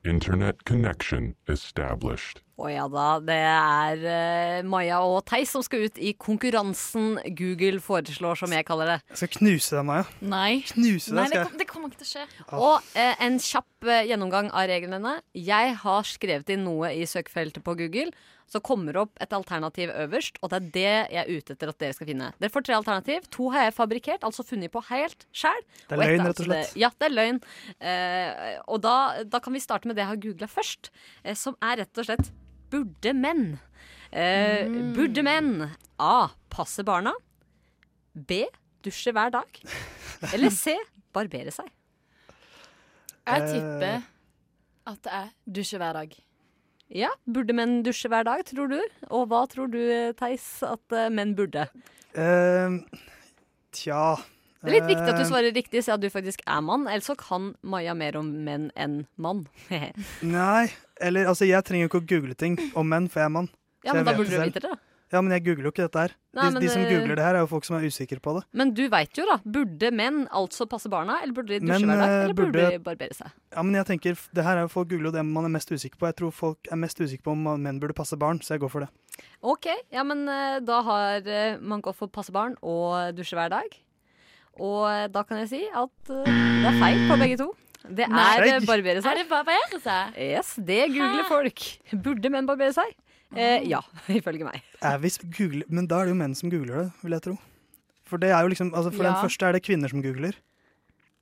Speaker 13: Internet connection established.
Speaker 14: Å ja da, det er eh, Maja og Theis som skal ut i konkurransen Google foreslår, som jeg kaller det.
Speaker 12: Jeg skal knuse deg, Maja.
Speaker 14: Nei.
Speaker 12: Knuse
Speaker 14: Nei,
Speaker 12: deg,
Speaker 14: det,
Speaker 12: skal jeg.
Speaker 14: kom, det kommer ikke til å skje.
Speaker 12: Ja.
Speaker 14: Og eh, en kjapp eh, gjennomgang av reglene. Jeg har skrevet inn noe i søkefeltet på Google. Så kommer det opp et alternativ øverst, og det er det jeg er ute etter at dere skal finne. Dere får tre alternativ. To har jeg fabrikkert, altså funnet på helt sjæl.
Speaker 12: Det er
Speaker 14: Og et
Speaker 12: løgn, rett og
Speaker 14: altså det-
Speaker 12: slett.
Speaker 14: Ja, det er løgn. Eh, og da, da kan vi starte med det jeg har googla først, eh, som er rett og slett burde menn. Eh,
Speaker 12: Mm.
Speaker 14: Burde menn A. Passe barna. B. Dusje hver dag. Eller C. Barbere seg.
Speaker 13: Jeg
Speaker 12: Eh.
Speaker 13: tipper
Speaker 14: at det er dusje hver dag. Ja, burde menn dusje hver dag, tror du? Og hva tror du, Theis, at eh, menn burde?
Speaker 12: Eh, tja
Speaker 14: Det er litt viktig at du
Speaker 12: Eh,
Speaker 14: svarer riktig, siden du faktisk er mann. Ellers så kan Maja mer om menn enn mann.
Speaker 12: Nei, eller altså, jeg trenger jo ikke å google ting om menn, for jeg er mann.
Speaker 14: Ja,
Speaker 12: Så
Speaker 14: men
Speaker 12: jeg
Speaker 14: da
Speaker 12: vet
Speaker 14: burde du
Speaker 12: selv.
Speaker 14: vite det, da.
Speaker 12: Ja, men jeg googler jo ikke dette her.
Speaker 14: Nei,
Speaker 12: de,
Speaker 14: men,
Speaker 12: de som
Speaker 14: eh,
Speaker 12: googler det her, er jo folk som er usikre på det.
Speaker 14: Men du veit jo, da. Burde menn altså passe barna, eller burde de dusje
Speaker 12: Men,
Speaker 14: hver dag?
Speaker 12: eh,
Speaker 14: Eller burde
Speaker 12: burde-
Speaker 14: de barbere seg?
Speaker 12: Ja, men jeg tenker, f- det her er jo folk googler jo det man er mest usikker på. Jeg tror folk er mest usikre på om menn burde passe barn, så jeg går for det.
Speaker 14: OK, ja, men eh, da har eh, man gått for passe barn og dusje hver dag. Og eh, da kan jeg si at eh, det er feil på begge to. Det
Speaker 13: Nei.
Speaker 14: er eh, barbere
Speaker 13: Er
Speaker 14: seg.
Speaker 13: det barbere seg?
Speaker 14: Yes, det googler
Speaker 13: Hæ?
Speaker 14: folk. Burde menn barbere seg? Eh, ja, ifølge meg.
Speaker 12: Er vi sp- googler, men da er det jo menn som googler det, vil jeg tro. For det er jo liksom, altså for
Speaker 13: Ja.
Speaker 12: den første er det kvinner som googler.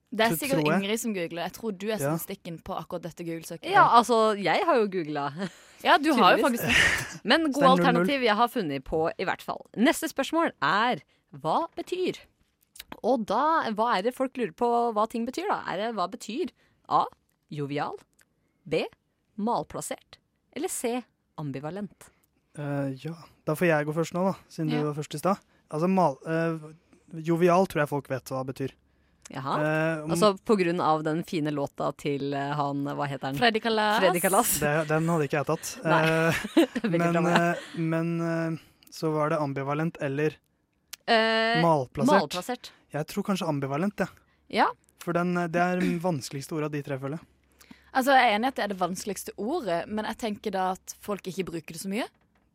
Speaker 13: Det er
Speaker 12: Så
Speaker 13: sikkert
Speaker 12: tror jeg.
Speaker 13: Ingrid som googler. Jeg tror du er som
Speaker 12: Ja.
Speaker 13: stikken på akkurat dette Google-søket.
Speaker 14: Ja, altså, jeg har jo googla.
Speaker 13: Ja, du har jo
Speaker 14: Tydeligvis. Men
Speaker 13: Så det
Speaker 14: gode
Speaker 13: er 0-0.
Speaker 14: alternativ jeg har funnet på, i hvert fall. Neste spørsmål er hva betyr? Og da, hva er det folk lurer på hva ting betyr, da? Er det hva betyr A. Jovial. B. Malplassert. Eller C. Ambivalent.
Speaker 12: Eh, ja, da får jeg gå først nå, da, siden
Speaker 14: Ja.
Speaker 12: du var først i stad. Altså, mal, eh, jovial tror jeg folk vet hva det betyr.
Speaker 14: Jaha.
Speaker 12: Eh, om-
Speaker 14: altså på grunn av den fine låta til eh, han, hva heter han?
Speaker 13: Freddy Kalas.
Speaker 14: Freddy Kalas.
Speaker 12: Det, den hadde ikke jeg tatt.
Speaker 14: Nei.
Speaker 12: Eh,
Speaker 14: Veldig bra
Speaker 12: men
Speaker 14: med
Speaker 12: eh, men eh, så var det ambivalent eller
Speaker 14: Eh,
Speaker 12: malplassert.
Speaker 14: malplassert.
Speaker 12: Jeg tror kanskje ambivalent, jeg.
Speaker 13: Ja.
Speaker 12: For den, eh, det er den vanskeligste ordet av de tre, føler jeg.
Speaker 13: Altså, Jeg er enig i at det er det vanskeligste ordet, men jeg tenker da at folk ikke bruker det så mye.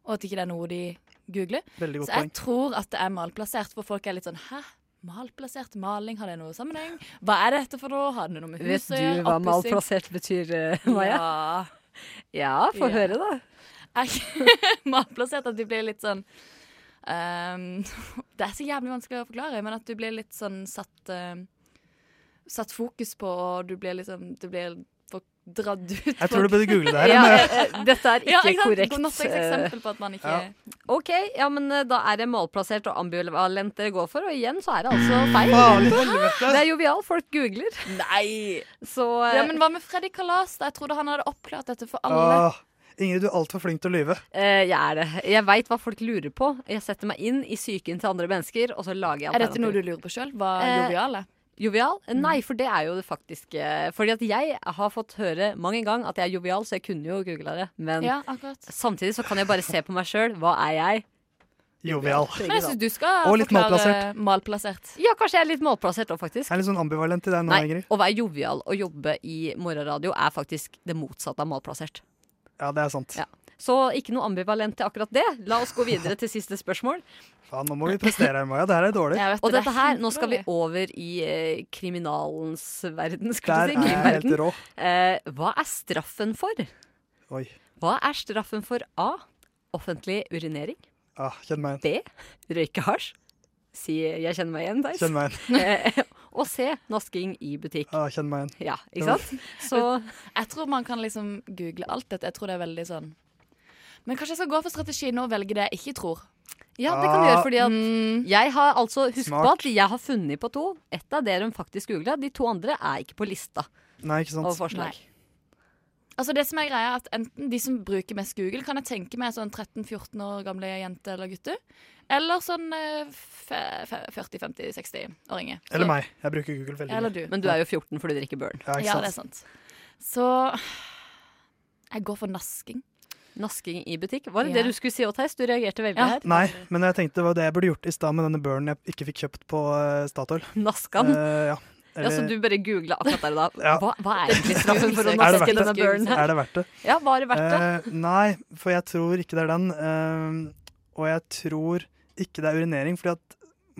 Speaker 13: Og at ikke det er noe de googler.
Speaker 12: Veldig godt
Speaker 13: så jeg
Speaker 12: poeng.
Speaker 13: tror at det er malplassert, for folk er litt sånn hæ? Malplassert? Maling? Har det noe sammenheng? Hva er dette for noe? Har det noe med
Speaker 14: Vet
Speaker 13: huset å
Speaker 14: du
Speaker 13: gjøre?
Speaker 14: hva
Speaker 13: Oppussing?
Speaker 14: malplassert betyr, eh, Maja?
Speaker 13: Ja.
Speaker 14: Ja, få høre, da.
Speaker 13: Er ikke malplassert at de blir litt sånn Ehm, det er så jævlig vanskelig å forklare, men at du blir litt sånn satt eh, Satt fokus på, og du blir liksom Du blir for- dratt ut.
Speaker 12: Jeg tror du burde google det her,
Speaker 13: Ja,
Speaker 12: Anne.
Speaker 13: eh, eh,
Speaker 14: Dette er ikke
Speaker 13: ja, ikke sant?
Speaker 14: korrekt. eh,
Speaker 13: Godt nok et eksempel på at man ikke
Speaker 14: Ja. OK, ja, men eh, da er det malplassert og ambivalent dere går for, og igjen så er det altså feil.
Speaker 13: Faen i helvete.
Speaker 14: det er jovial, folk googler.
Speaker 13: Nei!
Speaker 14: Så eh,
Speaker 13: Ja, men hva med Freddy Kalas? da? Jeg trodde han hadde oppklart dette for alle.
Speaker 12: Åh, Ingrid, du er altfor flink til å lyve.
Speaker 14: eh, jeg er det. Jeg veit hva folk lurer på. Jeg setter meg inn i psyken til andre mennesker, og så lager jeg
Speaker 13: er dette noe
Speaker 14: alternativer.
Speaker 13: du lurer på sjøl? Hva
Speaker 14: Eh,
Speaker 13: jovial Mm. er?
Speaker 14: Jovial? Eh, Nei, for det er jo det faktiske. Fordi at jeg har fått høre mang en gang at jeg er jovial, så jeg kunne jo googla det. Men
Speaker 13: Ja, akkurat.
Speaker 14: samtidig så kan jeg bare se på meg sjøl. Hva er jeg?
Speaker 12: Jovial.
Speaker 13: Men jeg syns du skal
Speaker 12: Og litt
Speaker 13: forklare
Speaker 12: malplassert.
Speaker 13: malplassert.
Speaker 14: Ja, kanskje jeg er litt målplassert òg, faktisk.
Speaker 12: Jeg er litt sånn ambivalent i deg nå,
Speaker 14: Nei,
Speaker 12: Ingrid.
Speaker 14: å være jovial og jobbe i morgenradio er faktisk det motsatte av malplassert.
Speaker 12: Ja, det er sant.
Speaker 14: Så ikke noe ambivalent til akkurat det. La oss gå videre til siste spørsmål.
Speaker 12: Faen, nå må vi prestere her, Maja. Det her er dårlig.
Speaker 14: Og dette her, nå skal vi over i eh, kriminalens verden,
Speaker 12: Der
Speaker 14: skulle jeg si.
Speaker 12: er jeg helt
Speaker 14: Krimverden.
Speaker 12: rå.
Speaker 14: Eh, hva er straffen for?
Speaker 12: Oi.
Speaker 14: Hva er straffen for A. Offentlig urinering.
Speaker 12: Ah, kjenn meg
Speaker 14: igjen. B. Røyke hasj. Si 'jeg kjenner meg igjen', Theis.
Speaker 12: Kjenn meg
Speaker 14: igjen. og C. Nasking i butikk.
Speaker 12: Ah, kjenn meg igjen.
Speaker 14: Ja, ikke sant? Så
Speaker 13: Jeg tror man kan liksom google alt dette. Jeg tror det er veldig sånn Men kanskje jeg skal gå for strategien og velge det jeg ikke tror.
Speaker 14: Ja, det kan
Speaker 12: Ah,
Speaker 14: du gjøre, fordi at
Speaker 12: Mm.
Speaker 14: jeg har altså Husk på
Speaker 13: Smart.
Speaker 14: at jeg har funnet på to. Ett av det de faktisk googla. De to andre er ikke på lista
Speaker 12: Nei, ikke sant.
Speaker 14: over forslag.
Speaker 13: Altså det som er greia er at Enten de som bruker mest Google, kan jeg tenke meg sånn 13-14 år gamle jenter eller gutter. Eller sånn 40-50-60-åringer.
Speaker 12: Eller meg. Jeg bruker Google veldig
Speaker 13: Eller
Speaker 12: mye.
Speaker 13: du. Men du er jo
Speaker 14: 14 fordi du drikker Burn.
Speaker 12: Ja, ikke
Speaker 13: Ja, det er
Speaker 12: sant.
Speaker 13: sant. Så jeg går for nasking.
Speaker 14: Nasking i butikk? Var det det du skulle si òg, Theis? Du reagerte veldig her.
Speaker 12: Nei, men jeg tenkte det var det jeg burde gjort i stad med denne burnen jeg ikke fikk kjøpt på eh, Statoil.
Speaker 14: Naska den?
Speaker 12: Eh, ja.
Speaker 14: Ja, så du bare googla akkurat der og da.
Speaker 12: Ja.
Speaker 14: Hva, hva er egentlig straffen for å
Speaker 12: Er det verdt
Speaker 14: naske
Speaker 12: det?
Speaker 14: denne Burn her?
Speaker 12: Er det verdt det?
Speaker 14: Ja, var det verdt det?
Speaker 12: Eh, nei, for jeg tror ikke det er den. eh, og jeg tror ikke det er urinering, fordi at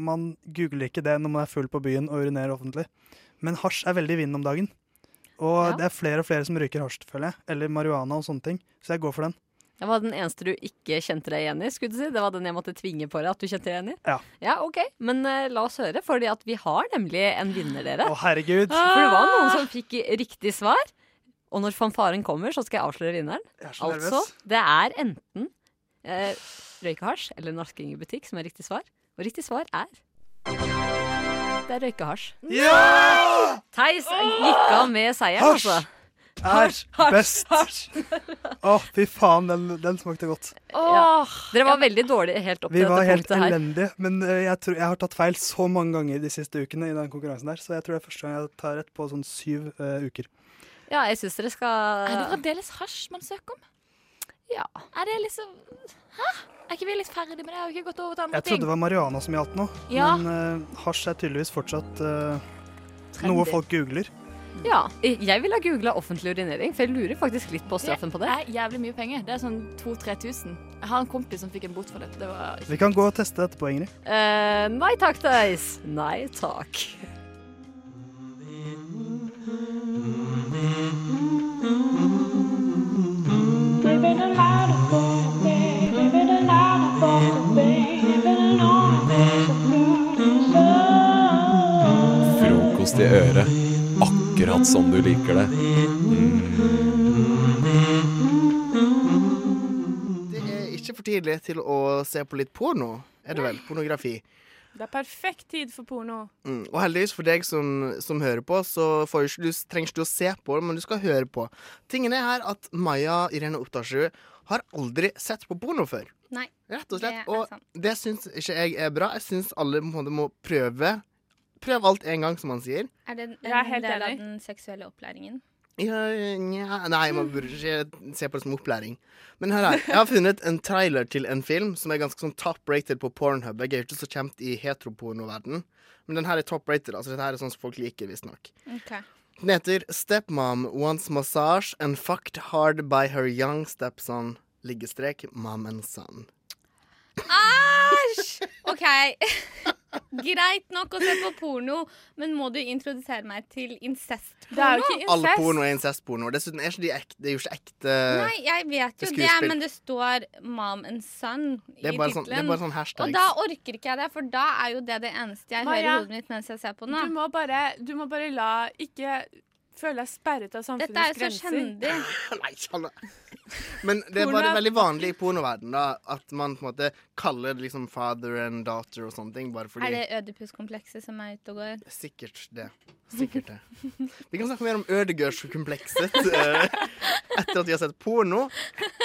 Speaker 12: man googler ikke det når man er full på byen og urinerer offentlig. Men hasj er veldig i vinden om dagen. Og det er flere og flere som røyker hasj, føler jeg. Eller marihuana og sånne ting. Så jeg går for den.
Speaker 14: Det var den eneste du ikke kjente deg igjen i. skulle du si. Det var den jeg måtte tvinge på deg at du kjente deg igjen i.
Speaker 12: Ja.
Speaker 14: ok. Men eh, la oss høre, fordi at vi har nemlig en vinner, dere. Ah!
Speaker 12: Å, herregud.
Speaker 14: For det var noen som fikk riktig svar. Og når fanfaren kommer, så skal jeg avsløre vinneren.
Speaker 12: er så
Speaker 14: altså,
Speaker 12: nervøs.
Speaker 14: det er enten eh, røykehasj eller nasking i butikk som er riktig svar. Og riktig svar er Det er røykehasj.
Speaker 12: Ja!
Speaker 14: Theis gikk av med seieren,
Speaker 12: Hasj!
Speaker 14: altså.
Speaker 12: Hasj
Speaker 14: hasj,
Speaker 12: best. Å, fy faen, den, den smakte godt.
Speaker 14: Ja. Dere var veldig dårlige helt opp
Speaker 12: Vi
Speaker 14: til
Speaker 12: var
Speaker 14: dette
Speaker 12: helt
Speaker 14: punktet her.
Speaker 12: elendige, men eh, jeg, tror, jeg har tatt feil så mange ganger de siste ukene i den konkurransen der, så jeg tror det er første gang jeg tar rett på sånn syv eh, uker.
Speaker 14: Ja, jeg syns dere skal
Speaker 13: Er det fremdeles hasj man søker om?
Speaker 14: Ja.
Speaker 13: Er det liksom Hæ? Er ikke vi litt ferdig med det? Har vi ikke gått over til andre
Speaker 12: Jeg trodde det var marihuana som gjaldt nå,
Speaker 13: Ja.
Speaker 12: men eh, hasj er tydeligvis fortsatt eh,
Speaker 14: Trendy.
Speaker 12: noe folk googler.
Speaker 14: Ja, jeg ville ha googla offentlig urinering, for jeg lurer faktisk litt på straffen på det.
Speaker 13: Det er jævlig mye penger. Det er sånn 2000-3000. Jeg har en kompis som fikk en bot for dette. Det var
Speaker 12: Vi kan gå og teste etterpå, Ingrid.
Speaker 14: Eh, nei takk, Theis. Nei takk.
Speaker 5: Frokost i øret, akkurat som du liker det. Mm.
Speaker 20: Det er ikke for tidlig til å se på litt porno, er det vel? Pornografi.
Speaker 21: Det er perfekt tid for porno.
Speaker 20: Mm. Og heldigvis for deg som, som hører på, så får jo ikke, du trenger ikke du å se på det, men du skal høre på. Tingen er her at Maja Irene Oppdalsrud har aldri sett på porno før.
Speaker 15: Nei.
Speaker 20: Rett og slett. Og det syns ikke jeg er bra. Jeg syns alle på en måte må prøve. Prøv alt en gang, som han sier.
Speaker 22: Er det en
Speaker 21: Jeg er helt
Speaker 22: del av
Speaker 21: enig.
Speaker 22: den seksuelle opplæringen?
Speaker 20: Ja, nja Nei, man burde ikke se på det som opplæring. Men hør her. Jeg har funnet en trailer til en film som er ganske sånn top-rated på Pornhub. Jeg er jo ikke så kjent i heteropornoverden, men den her er top-rated. Altså, dette her er sånn som folk liker, visstnok. Den heter Stepmom Wants Massage and Fucked Hard by Her Young Stepson Liggestrek Mom and Son.
Speaker 22: Æsj! OK.
Speaker 15: Greit nok å se på porno, men må du introdusere meg til incestporno?
Speaker 23: Det er jo
Speaker 15: ikke
Speaker 20: All porno er incestporno. Dessuten er ikke de ekte, det er jo ikke ekte
Speaker 15: Nei, jeg vet jo det,
Speaker 20: skuespill.
Speaker 15: men det står 'mom and son' i
Speaker 20: Det er bare sånn-
Speaker 15: tittelen.
Speaker 20: det er bare sånn hashtags.
Speaker 15: og da orker ikke jeg det, for da er jo det det eneste jeg hører i
Speaker 21: Maja,
Speaker 15: hodet mitt mens jeg ser på den. da.
Speaker 21: Du må bare, du må bare la Ikke føle deg sperret av
Speaker 15: Dette er
Speaker 21: samfunnets
Speaker 15: jo så
Speaker 21: grenser.
Speaker 15: kjendig.
Speaker 20: Nei, sånn Men det er
Speaker 21: Porno
Speaker 20: bare
Speaker 21: er-
Speaker 20: veldig vanlig i pornoverden da, at man på en måte kaller det liksom father and daughter og sånne ting, bare fordi
Speaker 15: Er det ødipuskomplekset som er ute og går?
Speaker 20: Sikkert det. Sikkert det. Vi kan snakke mer om Ødegårdskomplekset eh, etter at vi har sett porno.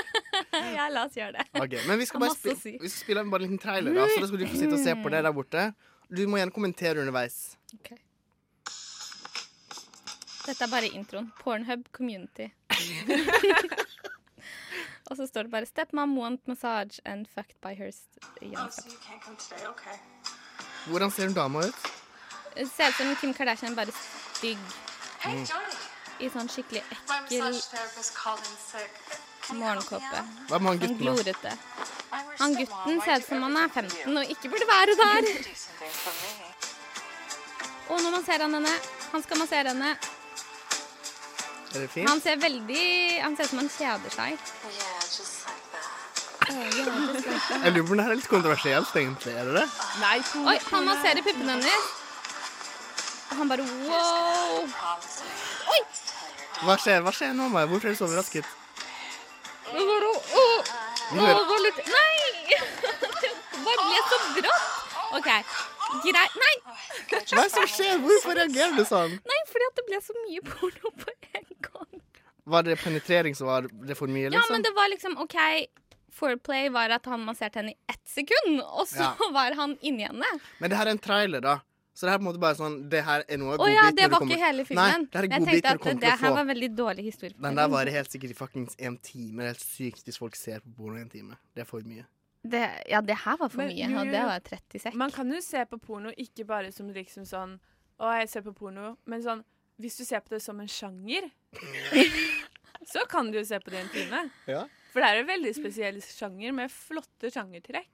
Speaker 15: ja, la oss gjøre det.
Speaker 20: Ok, men vi skal bare
Speaker 15: Masse å
Speaker 20: spille,
Speaker 15: si.
Speaker 20: vi skal spille bare en liten trailer, da, så da skal du få sitte og se på det der borte. Du må gjerne kommentere underveis.
Speaker 15: Dette er bare introen. Pornhub community. og så står det bare 'Stepmom want massage and fucked by her st- young step-"
Speaker 20: Hvordan ser hun dama ut?
Speaker 15: Det ser ut som Kim Kardashian, bare stygg. Mm.
Speaker 20: Hey, Johnny.
Speaker 15: I sånn skikkelig ekkel morgenkåpe.
Speaker 20: Hva med han
Speaker 15: Sånn
Speaker 20: gutten, da?
Speaker 15: glorete. Han gutten ser ut som han er 15 og ikke burde være der. Og nå masserer han henne. Han skal massere henne.
Speaker 20: Er det
Speaker 15: Han
Speaker 20: fint?
Speaker 15: ser veldig Han ser ut som han kjeder seg. Å, ja, det skal
Speaker 20: Jeg lurer på om det her er litt kontroversielt, egentlig. Er det det?
Speaker 15: Nei, Oi, han masserer puppene hennes. Og han bare wow. Oi!
Speaker 20: Hva skjer, Hva skjer nå, Maja? Hvorfor er du så overrasket?
Speaker 15: Hva var det? Åh,
Speaker 20: Vi
Speaker 15: åh,
Speaker 20: hører-
Speaker 15: hva lurte Nei! Det bare ble så brått. OK, greit. Nei!
Speaker 20: Hva er det som skjer? Hvorfor reagerer du sånn?
Speaker 15: Nei, fordi at det ble så mye porno på en gang.
Speaker 20: Var det penetrering som var det for mye,
Speaker 15: Ja, men
Speaker 20: liksom?
Speaker 15: det var liksom OK. Foreplay var at han masserte henne i ett sekund, og så
Speaker 20: Ja.
Speaker 15: var han inni henne.
Speaker 20: Men det her er en trailer, da. Så det her er på en måte bare sånn Det her er noe
Speaker 15: Å
Speaker 20: godbit
Speaker 15: ja,
Speaker 20: når
Speaker 15: det var
Speaker 20: kommer-
Speaker 15: ikke hele
Speaker 20: Nei,
Speaker 15: filmen.
Speaker 20: det her er
Speaker 15: Jeg tenkte
Speaker 20: godbiter du
Speaker 15: at
Speaker 20: kommer
Speaker 15: det
Speaker 20: til
Speaker 15: her
Speaker 20: å
Speaker 15: var
Speaker 20: få.
Speaker 15: veldig dårlig historie.
Speaker 20: Den der varer helt sikkert i fuckings en time. Det er helt sykt hvis folk ser på porno i en time. Det er for mye.
Speaker 15: Det, ja, det her var for
Speaker 21: Men
Speaker 15: mye.
Speaker 21: jo,
Speaker 15: Og
Speaker 21: jo,
Speaker 15: det
Speaker 21: jo.
Speaker 15: var 30 sek.
Speaker 21: Man kan jo se på porno ikke bare som liksom sånn Å, jeg ser på porno. Men sånn Hvis du ser på det som en sjanger, så kan du jo se på det i en time.
Speaker 20: Ja.
Speaker 21: For det er en veldig spesiell sjanger med flotte sjangertrekk.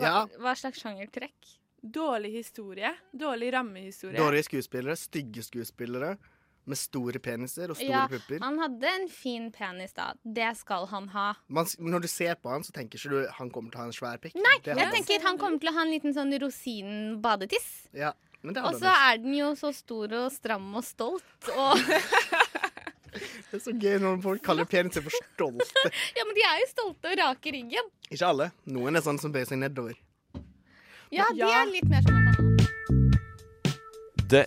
Speaker 20: Ja.
Speaker 15: hva slags sjangertrekk?
Speaker 21: Dårlig historie. Dårlig rammehistorie.
Speaker 20: Dårlige skuespillere, stygge skuespillere med store peniser og store
Speaker 15: Ja,
Speaker 20: pupper.
Speaker 15: han hadde en fin penis da. Det skal han ha.
Speaker 20: Man, s- når du ser på han, så tenker ikke du han kommer til å ha en svær pikk.
Speaker 15: Nei,
Speaker 20: Det er
Speaker 15: jeg
Speaker 20: han.
Speaker 15: tenker han kommer til å ha en liten sånn rosinen-badetiss.
Speaker 20: ja, men det er
Speaker 15: Og så
Speaker 20: annerledes.
Speaker 15: er den jo så stor og stram og stolt. Og
Speaker 20: Det er så gøy når folk kaller peniser for stolte.
Speaker 15: ja, men de er jo stolte og rake i ryggen.
Speaker 20: Ikke alle. Noen er sånn som bøyer seg nedover.
Speaker 15: Ja, de er litt mer som en banan.
Speaker 5: Det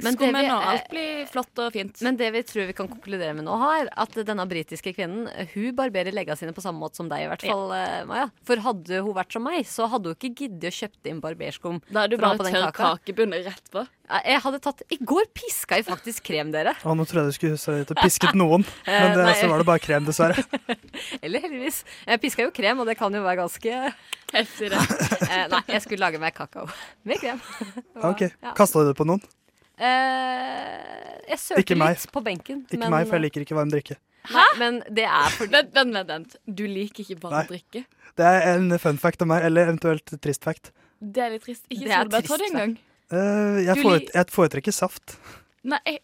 Speaker 13: barberingsskummen, og alt blir flott og fint.
Speaker 14: Men det vi tror vi kan konkludere med nå, her, at denne britiske kvinnen hun barberer leggene sine på samme måte som deg, i hvert
Speaker 13: Ja.
Speaker 14: fall, eh, Maja. For hadde hun vært som meg, så hadde hun ikke giddet å kjøpt inn barberskum.
Speaker 13: Da er du
Speaker 14: for å ha
Speaker 13: bare
Speaker 14: på den
Speaker 13: tørr
Speaker 14: kaka.
Speaker 13: kakebunn rett på.
Speaker 14: Jeg hadde tatt I går piska jeg faktisk krem, dere.
Speaker 12: Å, nå trodde jeg du skulle se ut og pisket noen, men
Speaker 14: Eh,
Speaker 12: det,
Speaker 14: nei.
Speaker 12: så var det bare krem, dessverre.
Speaker 14: Eller heldigvis. Jeg piska jo krem, og det kan jo være ganske
Speaker 13: Heftig,
Speaker 14: det. Eh, Nei, jeg skulle lage meg kakao med krem.
Speaker 12: Ok,
Speaker 14: Ja.
Speaker 12: Kasta du det på noen?
Speaker 14: Eh, jeg sølte
Speaker 12: Ikke meg.
Speaker 14: litt på benken.
Speaker 12: Ikke meg,
Speaker 14: eh,
Speaker 12: for jeg liker ikke varm drikke.
Speaker 14: Hæ? Men det er fordi
Speaker 13: Vent, vent, vent, vent. Du liker ikke
Speaker 12: Nei.
Speaker 13: bare drikke.
Speaker 12: Det er en fun fact om meg, eller eventuelt trist fact.
Speaker 13: Det er litt trist. Ikke
Speaker 14: Det er
Speaker 13: solbærtoddy
Speaker 14: trist,
Speaker 13: engang.
Speaker 12: Eh, jeg,
Speaker 14: Du
Speaker 12: foret, jeg foretrekker saft,
Speaker 13: Nei.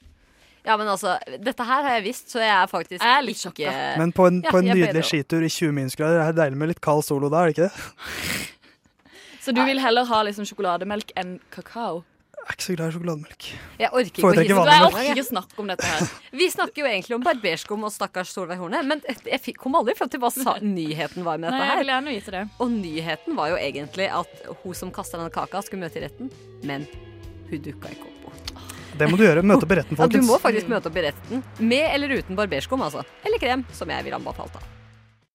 Speaker 14: Ja, men altså, dette her har jeg visst, så jeg er faktisk jeg er litt ikke
Speaker 12: men på en,
Speaker 14: Ja,
Speaker 12: på en
Speaker 14: jeg er bedre
Speaker 12: nydelig
Speaker 14: også.
Speaker 12: skitur i 20 minusgrader er det deilig med litt kald solo da, er det ikke det?
Speaker 13: Så du vil heller ha liksom sjokolademelk enn kakao?
Speaker 12: Jeg er ikke så glad i sjokolademelk.
Speaker 14: Jeg orker ikke å
Speaker 12: Foretrekker
Speaker 14: hisse
Speaker 12: vanlig
Speaker 14: meg
Speaker 12: melk.
Speaker 14: opp.
Speaker 13: Jeg orker ikke snakke om dette her.
Speaker 14: Vi snakker jo egentlig om barberskum og stakkars Solveig Horne, men jeg fikk- kom aldri fram til hva sa, nyheten var med dette
Speaker 13: Nei, jeg
Speaker 14: her.
Speaker 13: vil gjerne vite det.
Speaker 14: Og nyheten var jo egentlig at hun som kasta denne kaka, skulle møte i retten, men hun dukka ikke opp.
Speaker 12: Det må du gjøre. Møte opp i retten,
Speaker 14: Ja, du
Speaker 12: folkens.
Speaker 14: må faktisk møte opp i retten, med eller uten barberskum, altså. Eller krem, som jeg ville anbefalt, da.